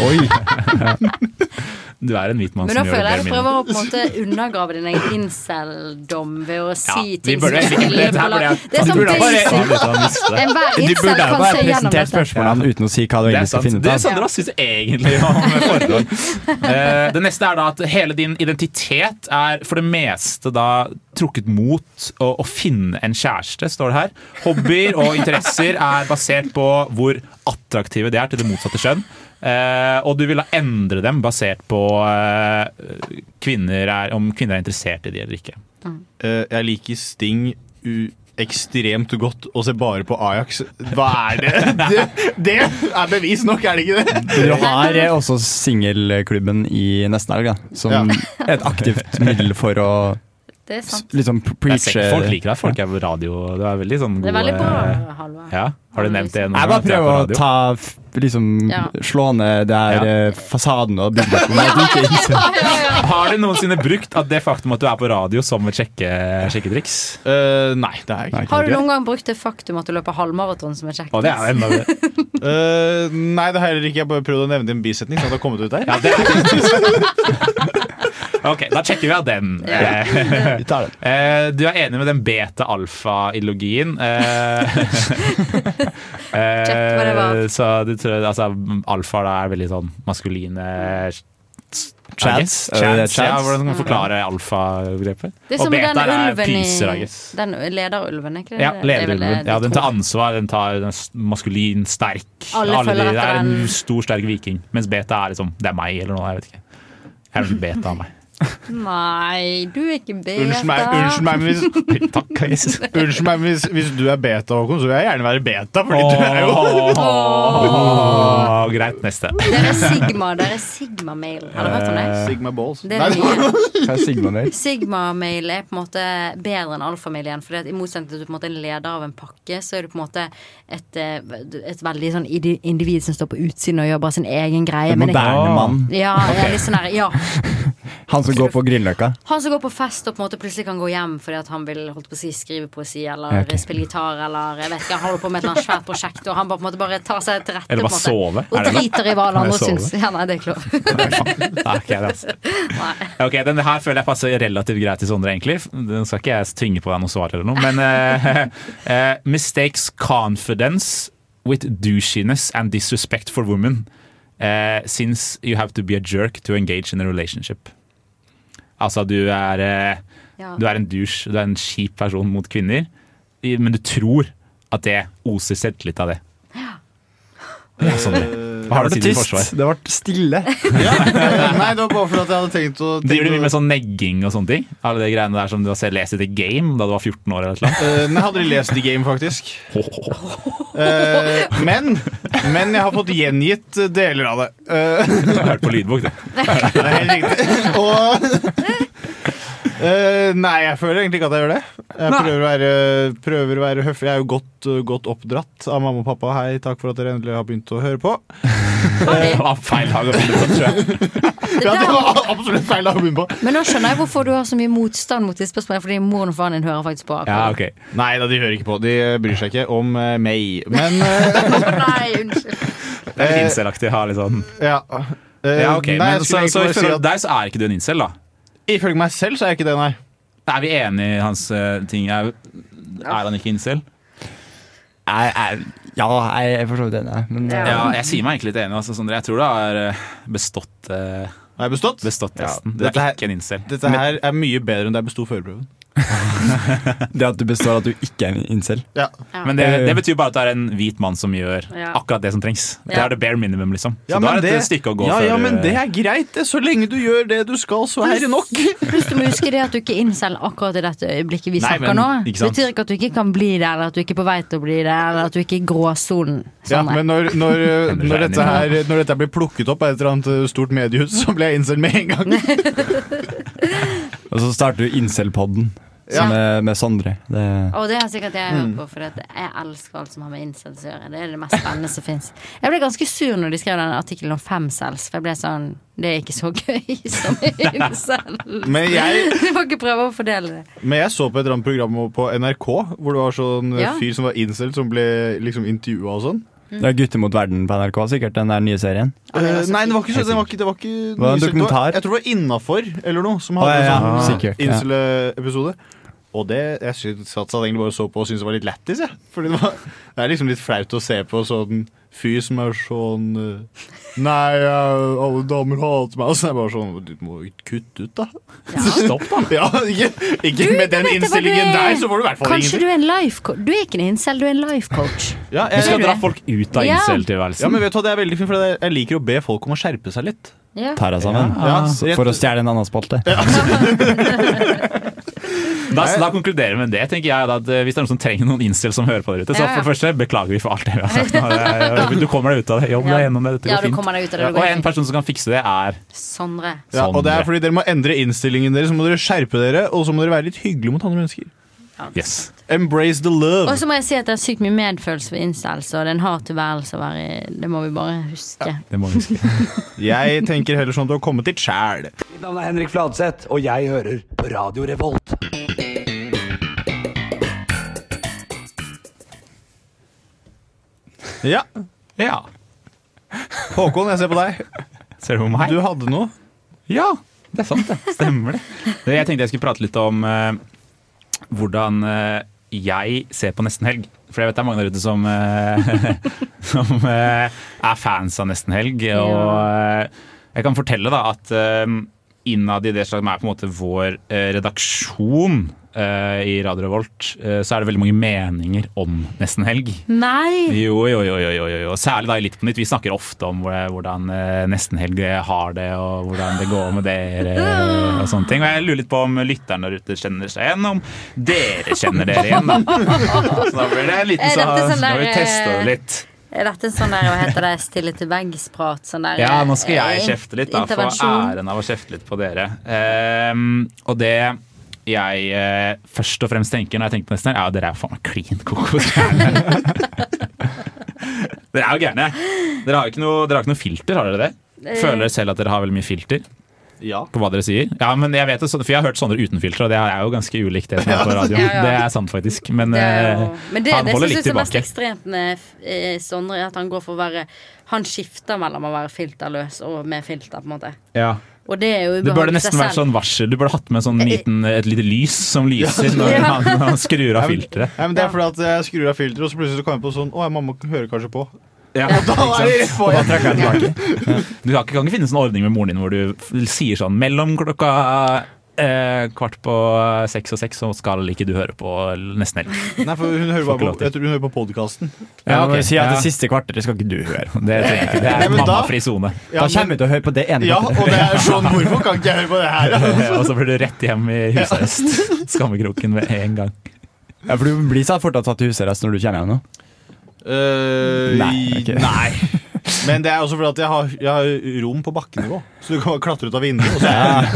I: Oi! Du er en hvit mann
H: Men
I: som
H: da
I: gjør det
H: føler jeg
I: bedre
H: du
I: enn
H: prøver å
I: min.
H: på en måte undergrave din egen incel-dom ved å
I: Ja,
H: si
I: vi
H: ting
I: burde-
H: som
I: det- det her burde jeg-
H: Det er
I: Du
H: sånn
I: burde bare-
H: basic. Enhver
C: Du
H: incel
C: burde jo
H: kan
C: bare
H: se gjennom
C: presentert
H: dette.
C: spørsmålene uten å si hva du
I: Det er
C: egentlig skal
I: sant.
C: finne ut
I: Det
C: av.
I: Sandra synes egentlig om forhold. Eh, det neste er da at hele din identitet er for det meste da trukket mot å, å finne en kjæreste, står det her. Hobbyer og interesser er basert på hvor attraktive de er til det motsatte kjønn. Eh, og du vil da endre dem basert på eh, kvinner er, om kvinner er interessert i de eller ikke.
G: Eh, jeg liker Sting u ekstremt godt og ser bare på Ajax. Hva er det? Det, det er bevis nok, er det ikke det?
C: Du har eh, også singelklubben i nesten helg, da, som
G: Ja.
C: er et aktivt middel for å
H: Det er
C: s-
H: sant.
C: liksom p-
I: Det er
C: preache
I: sikkert folk liker deg. Folk er på radio. Du er veldig sånn
H: Det er veldig
I: god,
H: bra,
I: eh,
H: Halvard.
I: Ja. Har du nevnt det noen
C: Jeg bare
I: gang, at du er på
C: prøver å
I: radio?
C: ta f- liksom
H: Ja.
C: slå ned der eh, fasaden og bygge opp med at du ikke er incel.
I: Har du noensinne brukt at det faktum at du er på radio som et sjekke, sjekketriks?
G: Eh, nei, det har jeg ikke.
H: Har du noen gang brukt det faktum at du løper halvmaraton som et kjekt?
G: Å, det er enda det. Eh, nei, det har jeg heller ikke. Jeg bare prøvde å nevne det i en bisetning. Sånn at det har kommet ut der
I: Ok, da sjekker vi av den.
G: Ja.
I: Eh,
G: Vi tar den.
I: eh, Du er enig med den beta-alfa-ideologien. Eh, eh,
H: Check hva det var.
I: Så du tror altså, alfa da er veldig sånn maskuline I guess.
C: Chads. Er det
I: Chads, Ja,
C: chads?
I: hvordan kan man
C: Mm.
I: forklare alfa-begrepet?
H: Det er som
I: Og
H: den
I: beta er
H: ulven i
I: pyser, I guess.
H: Den lederulven, er ikke det?
I: Ja,
H: det? Det er vel det
I: lederulven.
H: de
I: Ja, den
H: tror.
I: tar ansvar, den tar den er maskulin, sterk.
H: Alle følger
I: de- det
H: etter
I: er en
H: den.
I: stor, sterk viking. Mens beta er liksom Det er meg, eller noe. Jeg vet ikke. Jeg er vel beta av meg.
H: Nei, du er ikke beta.
G: Unnskyld meg, unnskyld meg, men hvis, unnskyld meg, men hvis, hvis du er beta, Håkon, så vil jeg gjerne være beta. Fordi du er jo
I: Åh, greit, neste.
H: Dere er sigma, dere er sigma-mail. Har dere hørt om det?
G: Eh, Sigma balls.
H: Det er mye.
C: Hva er Sigma mer?
H: Sigma-mail er på en måte bedre enn alfamilie igjen. For i motsetning til at du på en måte er en leder av en pakke, så er du på en måte et, eh, et veldig sånn indi- individ som står på utsiden og gjør bare sin egen greie.
C: En
H: men-
C: moderne mann.
H: Ja, ja, litt sånn her, ja.
C: Han som går på Grünerløkka.
H: Han som går på fest og på en måte plutselig kan gå hjem fordi at han vil holdt på å si, skrive poesi eller
C: Ja, ok.
H: spille gitar eller jeg vet ikke, han holder på med et eller annet svært prosjekt, og han bare, på en måte bare tar seg til rette.
I: Eller
H: på en
I: bare
H: måte,
I: sove. Er
H: Og
I: det lov?
H: driter i hva alle
I: Kan jeg
H: andre
I: sove?
H: syns. Ja, nei, det er ikke lov.
I: Nei, ok, det er altså. Ok, Denne her føler jeg passer relativt greit til Sondre, egentlig. Den skal ikke jeg tvinge på deg noe svar eller noe. Men eh, eh, Mistakes confidence with douchiness and disrespect for women. eh, since you have to be a jerk to engage in a relationship. Altså, du er, eh,
T: Ja.
I: du er en douche, du er en kjip person mot kvinner, i- men du tror at det oser selvtillit av det. Ja, Sondre. Hva har du å si til forsvar?
C: Det ble stille.
G: Nei, det var bare fordi at jeg hadde tenkt å tenkt
I: Driver du
G: å-
I: mye med sånn negging og sånne ting? Alle de greiene der som du har sett- lest i The Game da du var 14 år? eller noe?
G: Eh, nei, jeg hadde lest The Game, faktisk. Eh, men, men jeg har fått gjengitt deler av det. Eh,
I: Jeg har hørt på lydbok, det.
G: Det er helt riktig. Og Eh, nei, jeg føler egentlig ikke at jeg gjør det. Jeg prøver å, være, prøver å være høflig. Jeg er jo godt, eh, godt oppdratt av mamma og pappa. Hei, takk for at dere endelig har begynt å høre på.
I: Det var feil dag å finne på, tror jeg.
H: Det
G: Ja, det
H: der-
G: var absolutt feil album på.
H: Men nå skjønner jeg hvorfor du har så mye motstand mot disse spørsmålene, fordi moren og faren din hører faktisk på. akkurat.
G: Nei da, de hører ikke på. De bryr seg ikke om eh, meg. Men eh,
H: Nei, unnskyld.
G: Det er litt
I: incel-aktig. Ha litt sånn
G: ja. Eh,
I: Ja, ok,
G: nei,
I: men
G: jeg
I: Så,
G: skulle egentlig bare
I: så
G: si
I: ifølge
G: at-
I: deg så er ikke du en incel, da?
G: Ifølge meg selv så er jeg ikke det, nei.
I: Er vi enige i hans eh, ting? Er, er han ikke incel?
M: Jeg, jeg, ja, jeg er for så vidt enig. Men eh,
I: Ja. jeg sier meg egentlig litt enig. Altså, Sondre. Jeg tror du har eh, bestått eh,
G: bestått?
I: testen.
G: Ja,
I: Du
G: dette
I: er
G: her-
I: ikke en incel.
G: Dette her er mye bedre enn da jeg besto førerprøven.
M: det at du består at du ikke er en incel.
G: Ja.
M: Ja.
I: Men det, det betyr bare at det er en hvit mann som gjør
G: Ja.
I: akkurat det som trengs. Det
G: Ja.
I: er det bare minimum, liksom. Så
G: Ja,
I: da
G: men
I: er det et stykke å gå
G: ja,
I: før eh,
G: ja,
I: du-
G: men det
M: eh,
G: er greit, det. Så lenge du gjør det du skal, så er det nok.
H: Pluss du må huske det at du ikke er incel akkurat i dette øyeblikket vi
G: Nei,
H: snakker
G: men,
H: nå.
G: ikke
H: Det
G: sant.
H: betyr ikke at du ikke kan bli det, eller at du ikke er på vei til å bli det, eller at du ikke er i gråsonen.
G: Ja,
H: Sånn er.
G: men når, når, eh, når, dette her,
M: altså?
G: når dette blir plukket opp av et eller annet eh, stort mediehus, så blir jeg incel med en gang.
M: Og så starter du incel-podden
H: Ja.
M: med, med Sondre. Det,
H: Og det har sikkert jeg hørt
M: Mm.
H: på, for jeg elsker alt som har med incels å gjøre. Det er det mest spennende som fins. Jeg ble ganske sur når de skrev den artikkelen om femcels, for jeg ble sånn Det er ikke så gøy som incels.
G: Men jeg-
H: Du må ikke prøve å fordele det.
G: Men jeg så på et eller annet program på NRK hvor det var sånn eh,
H: Ja.
G: fyr som var incel, som ble liksom intervjua og sånn.
M: det er Gutter mot verden på NRK, sikkert, den der nye serien.
G: Eh, Nei, det var ikke så det var ikke, det var ikke
M: Det var en
G: nyhetssak.
M: dokumentar.
G: Jeg tror det var Innafor eller noe, som
M: Å,
G: hadde
M: ja,
G: en
M: ja.
G: sånn
M: Sikkert, ja.
G: incel-episode. Og det jeg synes, satt satt egentlig bare og så på og syntes det var litt lættis, jeg. Fordi det, var, det er liksom litt flaut å se på sånn fyr som er sånn eh, Nei, jeg, alle damer hater meg. Og så er jeg bare sånn Du må jo kutte ut, da.
I: Stopp, da.
G: Ja, ikke, ikke
H: Du,
G: med den
H: vet du hva
G: innstillingen
H: det er?
G: der, så får du i hvert fall
H: Kanskje
G: ingenting.
H: du er en life coach. Du er ikke en incel, du er en life coach.
G: Ja,
H: Du skal dra folk
G: ut
H: av Ja. incel-tilværelsen.
G: Ja, men vet du hva, det er veldig fint, for jeg- jeg liker å be folk om å skjerpe seg litt.
H: Ja.
M: Tar
I: altså,
M: jeg sammen.
G: Ja,
M: Så-
G: rett-
M: For å stjele en annen spalte.
I: Da, så da konkluderer vi med det, tenker jeg. Da, at eh, hvis det er noen som trenger noen incel som hører på der ute, så
H: Ja, ja.
I: for det første beklager vi for alt det vi har sagt. Nå. Det er- Du kommer deg ut av det. Jobb
H: Ja.
I: deg gjennom det. Dette
H: Ja,
I: går
H: du
I: fint.
H: kommer deg ut av det, det går
I: og en
H: fint.
I: person som kan fikse det, er
H: Sondre.
G: Ja, og det er fordi dere må endre innstillingen deres, så må dere skjerpe dere, og så må dere være litt hyggelige mot andre mennesker.
I: Yes.
G: Embrace the
H: Og
G: love.
H: så må jeg si at det er sykt mye medfølelse for incels, og det er en hard tilværelse å være i. Det må vi bare huske.
I: Det må vi huske.
G: Jeg tenker heller sånn at du har kommet dit sjæl.
B: Mitt navn er Henrik Fladseth, og jeg hører på Radio Revolt.
G: Ja. Håkon, jeg ser på deg.
I: Ser du på meg?
G: Du hadde noe.
I: Ja, det er sant det. Stemmer det. Det- Jeg tenkte jeg skulle prate litt om eh, hvordan eh, jeg ser på Nesten Helg. For jeg vet det er mange der ute som, eh, som eh, er fans av Nesten Helg. Og eh, jeg kan fortelle da at eh, innad i det som er på en måte vår eh, redaksjon eh, i Radio Revolt, eh, så er det veldig mange meninger om Nesten Helg.
H: Nei!
I: Jo, jo, jo, jo, jo, jo, jo. Særlig da i Litt på nytt. Vi snakker ofte om hvor- hvordan eh, nestenhelg har det, og hvordan det går med dere. eh, Og sånne ting. Og jeg lurer litt på om lytterne der ute kjenner seg igjen, om dere kjenner dere igjen. Da. Så da blir det en liten
H: Er dette
I: sånn,
H: sånn
I: da har vi
H: der,
I: testa det
H: eh,
I: litt.
H: Er dette sånn der, hva heter det, stille til veggs-prat? Sånn der
I: Ja, nå skal jeg
H: eh,
I: kjefte litt, da. Få
H: intervensjon.
I: æren av å kjefte litt på dere. Ehm, og det jeg eh, først og fremst tenker når jeg tenker på nesten, er at dere er faen meg klin kokos gærne. dere er jo gærne. Dere har jo ikke noe, dere har ikke noe filter, har dere det?
H: Eh.
I: Føler dere selv at dere har veldig mye filter?
G: Ja.
I: På hva dere sier? Ja, men jeg vet det, så- for jeg har hørt Sondre uten filter, og det er jo ganske ulikt det som er på radioen.
H: Ja, ja.
I: Det er sant, faktisk. Men,
H: Det er jo-
I: eh,
H: Men det,
I: han
H: det
I: holder
H: synes
I: litt
H: jeg er mest
I: tilbake.
H: ekstremt med eh, Sondre, at han går for å være Han skifter mellom å være filterløs og med filter, på en måte.
I: Ja.
H: Og det er jo
I: Det burde
H: ubehagelig i seg
I: nesten vært
H: selv.
I: sånn varsel. Du burde hatt med sånn liten, et lite lys som lyser når
G: Ja.
I: han, når han skrur av filteret.
G: Nei, men det er fordi at jeg skrur av filteret, og så plutselig så kommer jeg på sånn Å, ja, mamma hører kanskje på.
I: Ja,
G: Og da
I: ikke
G: er det rett
I: sant?
G: på
I: Og da
G: igjen.
I: trekker jeg tilbake. Du kan ikke, kan ikke finne sånn ordning med moren din hvor du f- sier sånn mellom klokka eh, kvart på seks og seks, så skal ikke du høre på nesten helt.
G: Nei, for hun hører
I: Får ikke
G: bare på,
I: lov til.
G: jeg tror hun hører på podkasten.
I: Ja, ok.
M: Si at
I: Ja.
M: det siste kvarteret skal ikke du høre på.
I: Det, trenger jeg ikke. det
M: Nei,
I: er
M: men da-
I: mammafri sone.
M: Da kommer vi til å høre på det ene
G: Ja,
M: kvarteret.
G: og det er sånn Hvorfor kan ikke jeg høre på det her? da?
I: Og så blir du rett hjem i husarrest. Skammekroken med en gang.
M: Ja, for du blir så fortsatt satt i husarrest når du kommer hjem nå.
G: Eh,
M: Nei, ok.
G: nei. Men det er også fordi at jeg har, jeg har rom på bakkenivå, så du kan bare klatre ut av vinduet. Og så er jeg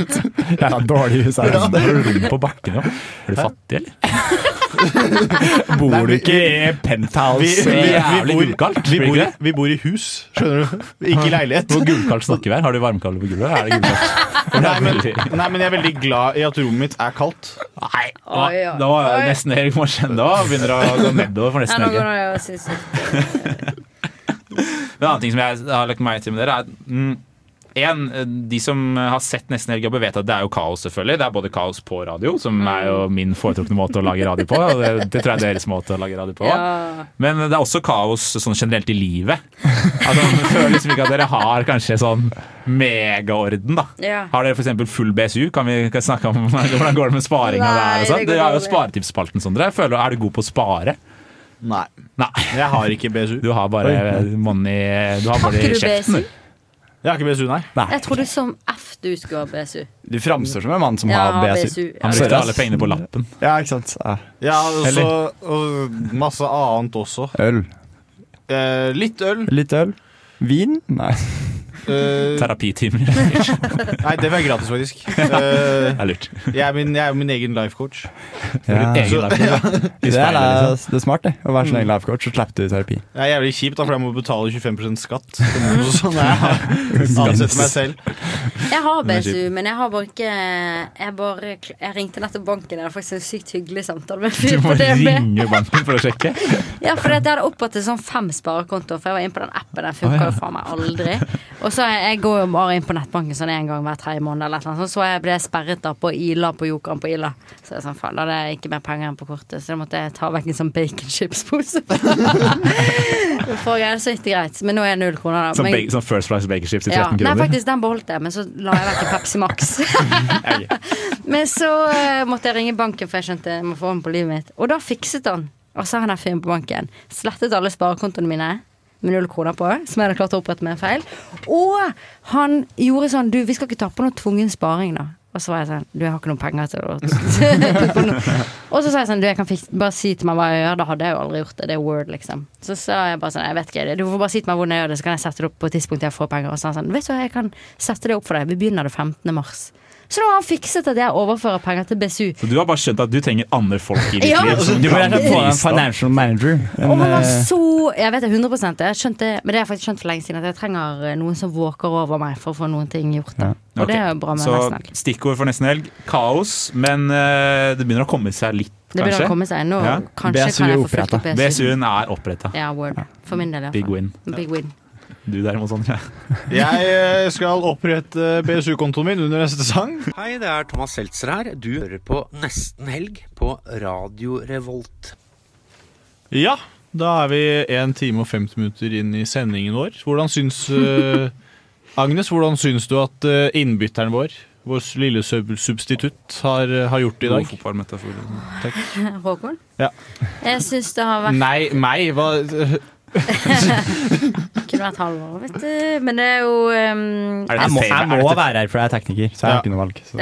G: ute.
M: Jeg har dårlig husarrest.
T: altså.
I: Har du rom på bakken nå? Er du fattig, eller?
T: Bor du ikke i penthouse?
G: Vi, vi, vi,
T: Jævlig
G: bor,
T: gullkaldt,
G: vi,
T: blir
G: bor, i-
T: ikke det?
G: vi bor i hus, skjønner du. Ikke i leilighet.
T: Hvor gullkaldt snakker vi her? Har du varmekabler på gulvet? eller Er det gullkaldt?
G: Nei men, nei, men jeg er veldig glad i at rommet mitt er kaldt. Nei,
T: Da, da var jeg nesten helt må kjenne Da begynner det å gå nedover for nesten
H: Nei, nå
T: helg.
H: går det jo sånn. sinnssykt.
I: Men En annen ting som jeg har lagt meg til med dere, er mm, en, De som har sett Nesten Helg jobbe, vet at det er jo kaos, selvfølgelig. Det er både kaos på radio, som
H: Mm.
I: er jo min foretrukne måte å lage radio på, og det, det tror jeg er deres måte å lage radio på.
H: Ja.
I: Men det er også kaos sånn generelt i livet. Altså, det føler liksom ikke at dere har kanskje sånn megaorden, da.
H: Ja.
I: Har dere f.eks. full BSU? Kan vi kan snakke om hvordan går det med sparinga
G: Nei,
I: der? og sånn?
G: det går
I: Dere har jo
G: dårlig.
I: sparetipsspalten, Sondre. Jeg Føler, er du god på å spare?
G: Nei.
I: Jeg
G: har ikke BSU.
I: Du har bare
G: Oi.
I: money Du har
H: Har
I: bare
H: ikke
I: i
H: du BSU?
I: kjeften. du.
G: Jeg har ikke BSU, nei.
H: Jeg trodde som F du skulle ha BSU.
M: Du framstår som en mann som
H: Ja,
M: har
H: har
M: BSU.
H: BSU, ja.
I: Han brukte alle pengene på lappen.
M: Ja, ikke sant. Ja.
G: Ja, og så
M: Eller?
G: og masse annet også.
M: Øl.
G: Eh, litt øl.
M: Litt øl. Vin? Nei.
G: Eh,
I: Terapitimer.
G: nei, det var gratis, faktisk. Eh,
I: Det er lurt.
G: jeg, er min, jeg er min egen life coach.
M: Ja.
G: Så-
M: Det, er,
I: liksom.
M: det er smart, det. Å
I: Mm.
M: være sin egen life coach, så slipper du terapi.
G: Det er jævlig kjipt, da, for jeg må betale 25 skatt. Sånn er jeg. Ansetter meg selv.
H: Jeg har
G: Den er
H: BSU, men jeg har bare ikke Jeg, bare, kl- jeg ringte nettopp banken. Jeg hadde faktisk en sykt hyggelig samtale med en fyr
T: Du
H: på
T: må
H: DNB.
T: ringe banken for å sjekke.
H: Ja, for jeg hadde opprettet sånn fem sparekontoer, for jeg var inne på den appen. Den funka
T: Å, ja.
H: jo faen meg aldri. Og så jeg, jeg går jo bare inn på nettbanken sånn en gang hver tredje måned eller et eller annet. sånt. Så jeg ble sperret da på Ila på Jokeren på Ila. Så jeg sånn, faen, da hadde jeg ikke mer penger enn på kortet, så da måtte jeg ta vekk en sånn baconchipspose. for jeg, så gikk det greit. Men nå er jeg null kroner, da.
T: Sånn,
H: Men-
T: bake, sånn First Price Baker Chips i
H: ja.
T: 13
H: Nei,
T: kroner.
H: faktisk, den beholdt jeg, men så la jeg vekk en Pepsi Max. men så eh, måtte jeg ringe banken, for jeg skjønte jeg må få orden på livet mitt. Og da fikset han. Og så er han der fyren på banken. Slettet alle sparekontoene mine med null kroner på, som jeg hadde klart å opprette med en feil. Og han gjorde sånn Du, vi skal ikke ta på noe tvungen sparing, da. Og så var jeg sånn Du, jeg har ikke noen penger til å på noe. Og så sa jeg sånn Du, jeg kan fiks- bare si til meg hva jeg gjør. Da hadde jeg jo aldri gjort det. Det er Word, liksom. Så sa jeg bare sånn Jeg vet ikke. Du får bare si til meg hvordan jeg gjør det, så kan jeg sette det opp på et tidspunkt jeg får penger. Og så sa han sånn Vet du hva, jeg kan sette det opp for deg. Vi begynner det 15. mars. Så nå har han fikset at jeg overfører penger til BSU.
I: Så du har bare skjønt at du trenger andre folk i ditt
H: Ja.
I: liv. som
M: Du må
I: kan
M: gjerne få en
I: bistå.
M: financial manager.
H: Og
M: En,
H: han var
M: eh,
H: så Jeg vet det 100 jeg skjønte, men det har jeg faktisk skjønt for lenge siden, at jeg trenger eh, noen som våker over meg for å få noen ting gjort. Da. Og det er jo bra med
I: så
H: nesten helg.
I: stikkord for nesten helg kaos, men eh, det begynner å komme seg litt,
H: Det begynner
I: kanskje.
H: å komme seg nå. Kanskje kan jeg få fulgt opp BSU.
I: BSU-en er oppretta.
H: Ja, word. For min del, i hvert
I: Big
H: fall.
I: win.
H: Big win.
I: Du derimot, Sondre.
G: Jeg eh, skal opprette BSU-kontoen min under neste sang.
U: Hei, det er Thomas Seltzer her. Du hører på Nesten Helg på Radio Revolt.
G: Ja, da er vi 1 time og 50 minutter inn i sendingen vår. Hvordan syns eh, Agnes, hvordan syns du at eh, innbytteren vår, vår lille sub- substitutt, har, eh, har gjort det i
I: God
G: dag?
I: fotballmetafor.
G: Takk.
H: Håkon?
G: Ja.
H: Jeg syns det har vært
G: Nei, meg? Hva eh,
H: Kunne vært Halvor, vet du. Men det er jo ehm,
M: Jeg må, jeg må være her, for jeg er tekniker, så jeg har ikke noe valg. Så.
H: Eh,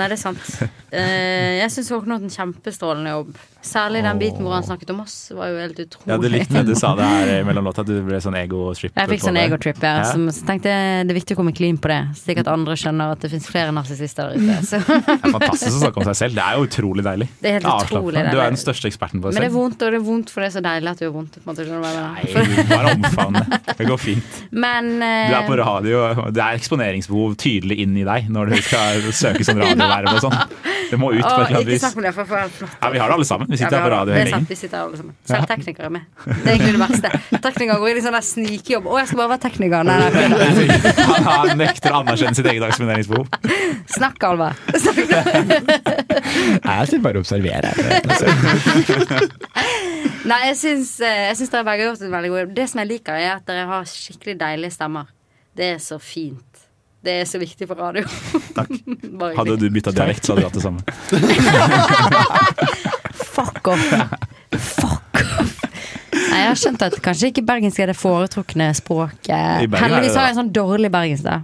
H: nei, det er sant. Eh, jeg syns Håkon har hatt en kjempestrålende jobb. Særlig den biten hvor han snakket om oss, var jo helt utrolig.
I: Jeg hadde likt det du sa det her eh, mellom låta, at du ble sånn ego-strip.
H: Jeg fikk sånn egotrip, ja.
I: Ja.
H: Som, så tenkte jeg det er viktig å komme clean på det. Slik at andre skjønner at det fins flere narsissister der ute. Så.
I: Det er fantastisk å snakke om seg selv. Det er jo utrolig deilig.
H: Det er helt
I: Avslappende.
H: utrolig
I: Du
H: deilig.
I: er den største eksperten på
H: Men
I: det
H: det er
I: selv.
H: vondt, og det er vondt for det er så deilig at du har vondt. På en måte, skjønner du hva jeg mener?
I: Nei, bare omfavne. Det går fint.
H: Men eh,
I: Du er på radio, og det er eksponeringsbehov tydelig inn i deg når du skal søke sånn radioverv og sånn. Det må ut
H: å,
I: på et eller annet
H: ikke
I: vis.
H: snakk om det, for jeg får helt flott.
I: Ja, vi har det alle sammen. Vi
H: Ja,
I: sitter her på
H: har-
I: radio
H: det
I: hele
H: er sant,
I: gjengen.
H: vi sitter her alle sammen. Selv teknikere er med. Det er egentlig det verste. Teknikere går inn i sånn der snikjobb. Å, jeg skal bare være tekniker. Nei, nei, nei.
I: Han har- nekter å anerkjenne sitt eget eksponeringsbehov.
H: Snakk, Alva.
M: Jeg sitter bare og observerer.
H: Eh. Nei, jeg syns, eh, jeg syns dere begge har gjort en veldig god jobb. Det som jeg liker, er at dere har skikkelig deilige stemmer. Det er så fint. Det er så viktig på radio. Bare
I: Hadde du bytta dialekt, så hadde du hatt det samme.
H: Fuck off. Fuck off. Nei, jeg har skjønt at kanskje ikke bergensk er det foretrukne språket.
I: I Bergen er det
H: Heldigvis har
I: det.
H: jeg en sånn dårlig bergensk, da.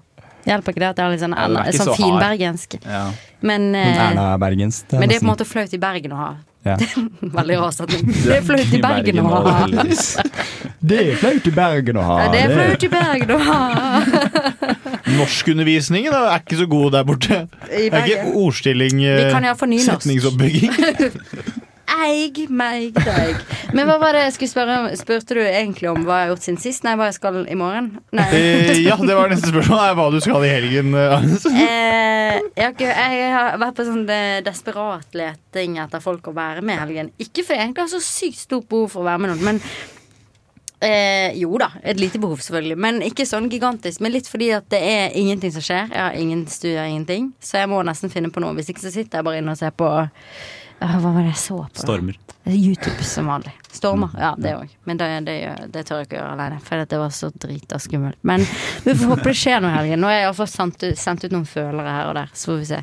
H: Hjelper ikke det at jeg har litt sånn,
M: Ja, den er
H: Erna-
M: ikke
H: sånn
M: så hard.
H: finbergensk.
M: Ja.
H: Men, eh,
M: Erna Bergens.
H: men det er på en måte flaut i Bergen å ha.
M: Ja.
H: Veldig rar setning. Det er flaut i Bergen å ha.
M: Det er flaut i Bergen å ha.
H: Ja, det er
M: det.
H: flaut i Bergen å ha.
G: Norskundervisningen da, er ikke så god der borte. Det er ikke
H: Bergen.
G: ordstilling, eh,
H: Vi kan jo ha for nynorsk.
G: setningsoppbygging.
H: Deig, meg, deig. Men hva var det jeg skulle spørre om? Spurte du egentlig om hva jeg har gjort siden sist? Nei, hva jeg skal i morgen? Nei.
G: Eh, ja, det var neste spørsmål. Er hva du skal i helgen, Agnes.
H: Eh, jeg, har ikke, jeg har vært på sånn eh, desperat leting etter folk å være med i helgen. Ikke fordi jeg egentlig har så sykt stort behov for å være med noen, men eh, Jo da, et lite behov selvfølgelig. Men ikke sånn gigantisk. Men litt fordi at det er ingenting som skjer. Jeg har ingen studier, ingenting. Så jeg må nesten finne på noe. Hvis ikke så sitter jeg bare inne og ser på ja, Hva var det jeg så på? da?
I: Stormer.
H: YouTube som vanlig. Mm. Stormer. Ja, det òg. Men det, det, gjør- det tør jeg ikke gjøre alene, for det var så drita skummelt. Men vi får håpe det skjer noe i helgen. Nå har jeg iallfall sendt, ut- sendt ut noen følere her og der, så får vi se.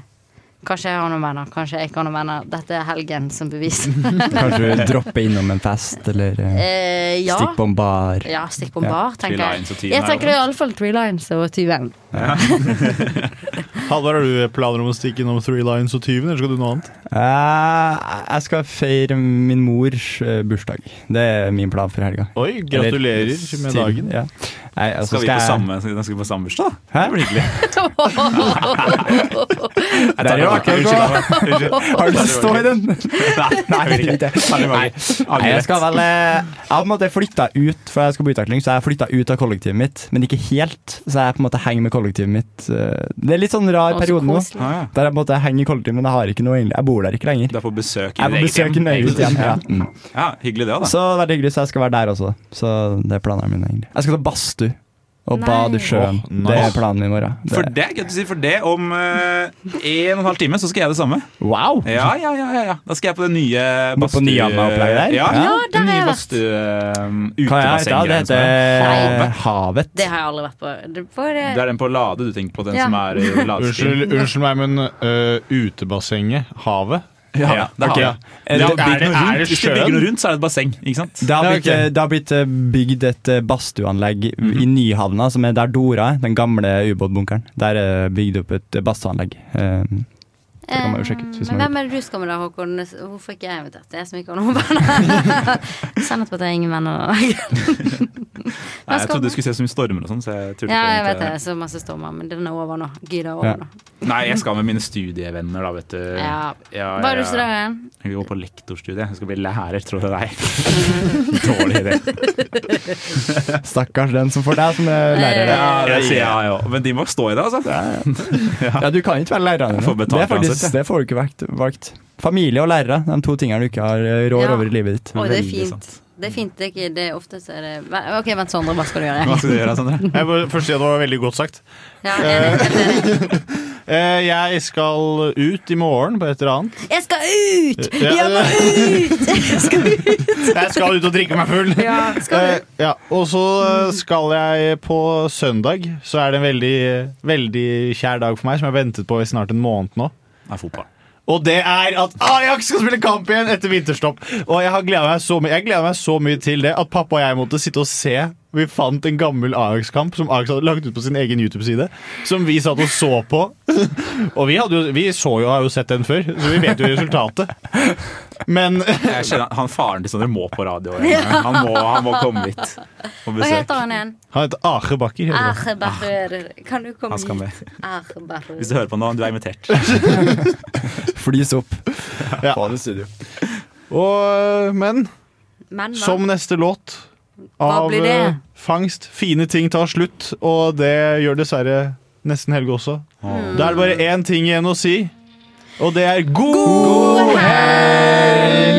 H: Kanskje jeg har noen venner, kanskje jeg ikke har noen venner. Dette er helgen som bevis.
K: Kanskje droppe innom en fest, eller
H: Eh, ja. Eh,
K: stikk på en bar.
H: Ja, stikk på en
K: Ja.
H: bar,
K: Three
H: tenker
K: Lions og
H: jeg.
K: Tyven
H: Jeg
K: er
H: tenker
K: åpen.
H: iallfall Three Lines og Tyven.
G: Halvard, har du planer om å stikke innom Three Lines og Tyven, eller skal du noe annet?
K: Eh, jeg skal feire min mors eh, bursdag. Det er min plan for helga.
G: Oi, gratulerer
K: Eller
G: med
K: til-
G: dagen.
K: Ja. Nei, altså,
I: Skal vi på
K: jeg-
I: samme, skal vi på samme bursdag?
K: Hæ? Det blir hyggelig.
I: Jeg tar det tilbake. Unnskyld. Unnskyld.
K: Har du lyst til å stå i den? Nei, jeg vil ikke. Nei. Nei, jeg skal vel eh, Jeg har på en måte flytta ut, for jeg skal på utveksling, så jeg har flytta ut av kollektivet mitt, men ikke helt. Så jeg på en måte henger med kollektivet mitt. eh, Det er litt sånn rar
I: Å, så
K: periode nå,
I: koselig. Ah, ja.
K: der jeg på en måte henger i kollektivet, men jeg har ikke noe egentlig. Jeg bor der ikke lenger.
I: Du er på besøk
K: Jeg er på
I: ditt
K: besøk i mitt eget hjem, ja. Mm.
I: ja, hyggelig det, da.
K: Så det er veldig hyggelig, så jeg skal være der også. Så det er planene mine, egentlig. Jeg skal ta badstue og bade i sjøen.
I: Åh, nice.
K: Det er planen min i morgen. Det-
I: For det er gøy å si, for det om eh, en og en halv time så skal jeg det samme.
K: Wow!
I: Ja, ja, ja, ja, ja. Da skal jeg på det nye
K: Må på
I: badstue-
K: Nyhamna-opplegget der?
I: Ja,
K: Ja,
I: ja,
K: der har
I: nye
K: jeg vært. Hva er det?
I: bastu-utebassenggreiene.
K: Det heter eh,
I: Havet.
K: Havet.
H: Det har jeg aldri vært på. Det, på det.
I: Det er den på Lade du tenker på, den
H: Ja.
I: som er i Ladestien.
G: Unnskyld, unnskyld meg, men øh, utebassenget? Havet?
I: Ja, det har
G: ok.
I: jeg.
G: Er det, er det, er det
I: Hvis du bygger
G: sjøen?
I: noe rundt, så er det et basseng. ikke sant?
K: Det har, blitt, det har blitt eh, bygd et eh, badstueanlegg
I: Mhm.
K: i Nyhavna, som er der Dora er, den gamle ubåtbunkeren. Der er det bygd opp et eh, badstueanlegg. Eh, Det kan man jo sjekke ut. Hvis man
H: Men
K: vil.
H: hvem er det du skal med da, Håkon? Hvorfor ikke jeg invitert? Det er jeg som ikke har noen venner. Sannhet på at jeg har ingen venner.
I: Nei, jeg
H: skal
I: trodde du skulle se så mye stormer og sånn. så jeg turte
H: Ja, jeg vet
I: ikke.
H: det. Så masse stormer, men den er over nå. Gidder er
I: Ja.
H: over nå.
I: Nei, jeg skal med mine studievenner, da, vet du.
H: Ja. Hva er det du studerer igjen?
I: Jeg går på lektorstudiet. Jeg skal bli lærer, tror du det er. Dårlig idé.
K: Stakkars den som får deg som er lærer.
I: Ja, det sier jeg òg. Men de må stå i det, altså.
K: Ja. du kan ikke være lærer.
I: Jeg får
K: Det,
I: betalt
K: er faktisk,
I: uansett, ja.
K: det får du ikke valgt, valgt. Familie og lærere, de to tingene du ikke har eh, råd
H: Ja.
K: over i livet ditt.
H: Å, det er fint. Det er fint. Det er ikke det er ofte så er det Hva- Ok, vent, Sondre. Hva skal du gjøre?
G: Hva skal du gjøre, Sandra? Jeg må først si at det var veldig godt sagt.
H: Ja, enig, helt enig.
G: Eh, jeg skal ut i morgen på et eller annet.
H: Jeg skal ut!
G: Ja,
H: Jeg må ut! Jeg skal ut!
G: Jeg skal ut og drikke meg full.
H: Ja, skal
G: Eh, ja. Og så eh, skal jeg på søndag. Så er det en veldig, veldig kjær dag for meg, som jeg har ventet på i snart en måned nå.
I: Det er fotball.
G: Og det er at ah, Ajax skal spille kamp igjen etter vinterstopp. Og jeg har gledet meg så mye Jeg gleder meg så mye til det at pappa og jeg måtte sitte og se. Vi fant en gammel Ajax-kamp som Ajax hadde lagt ut på sin egen YouTube-side. Som vi satt og så på. Og vi, hadde jo, vi så jo, har jo sett den før, så vi vet jo resultatet. Men
I: Jeg kjenner han Faren til Sondre må på radio. en gang. Han må, han må komme hit
H: Hva
I: og besøke.
H: heter han igjen?
G: Han heter Are Bakker.
H: Ah. Arbarør. Kan du komme
I: Han skal med.
H: hit? Arbarør.
I: Hvis du hører på nå, du er invitert.
K: Flys opp.
G: Ja. Og, men
H: Men hva?
G: Som neste låt
H: Hva
G: av
H: blir det?
G: eh, Fangst. Fine ting tar slutt, og det gjør dessverre nesten Helge også. Da er det bare én ting igjen å si, og det er god, helg!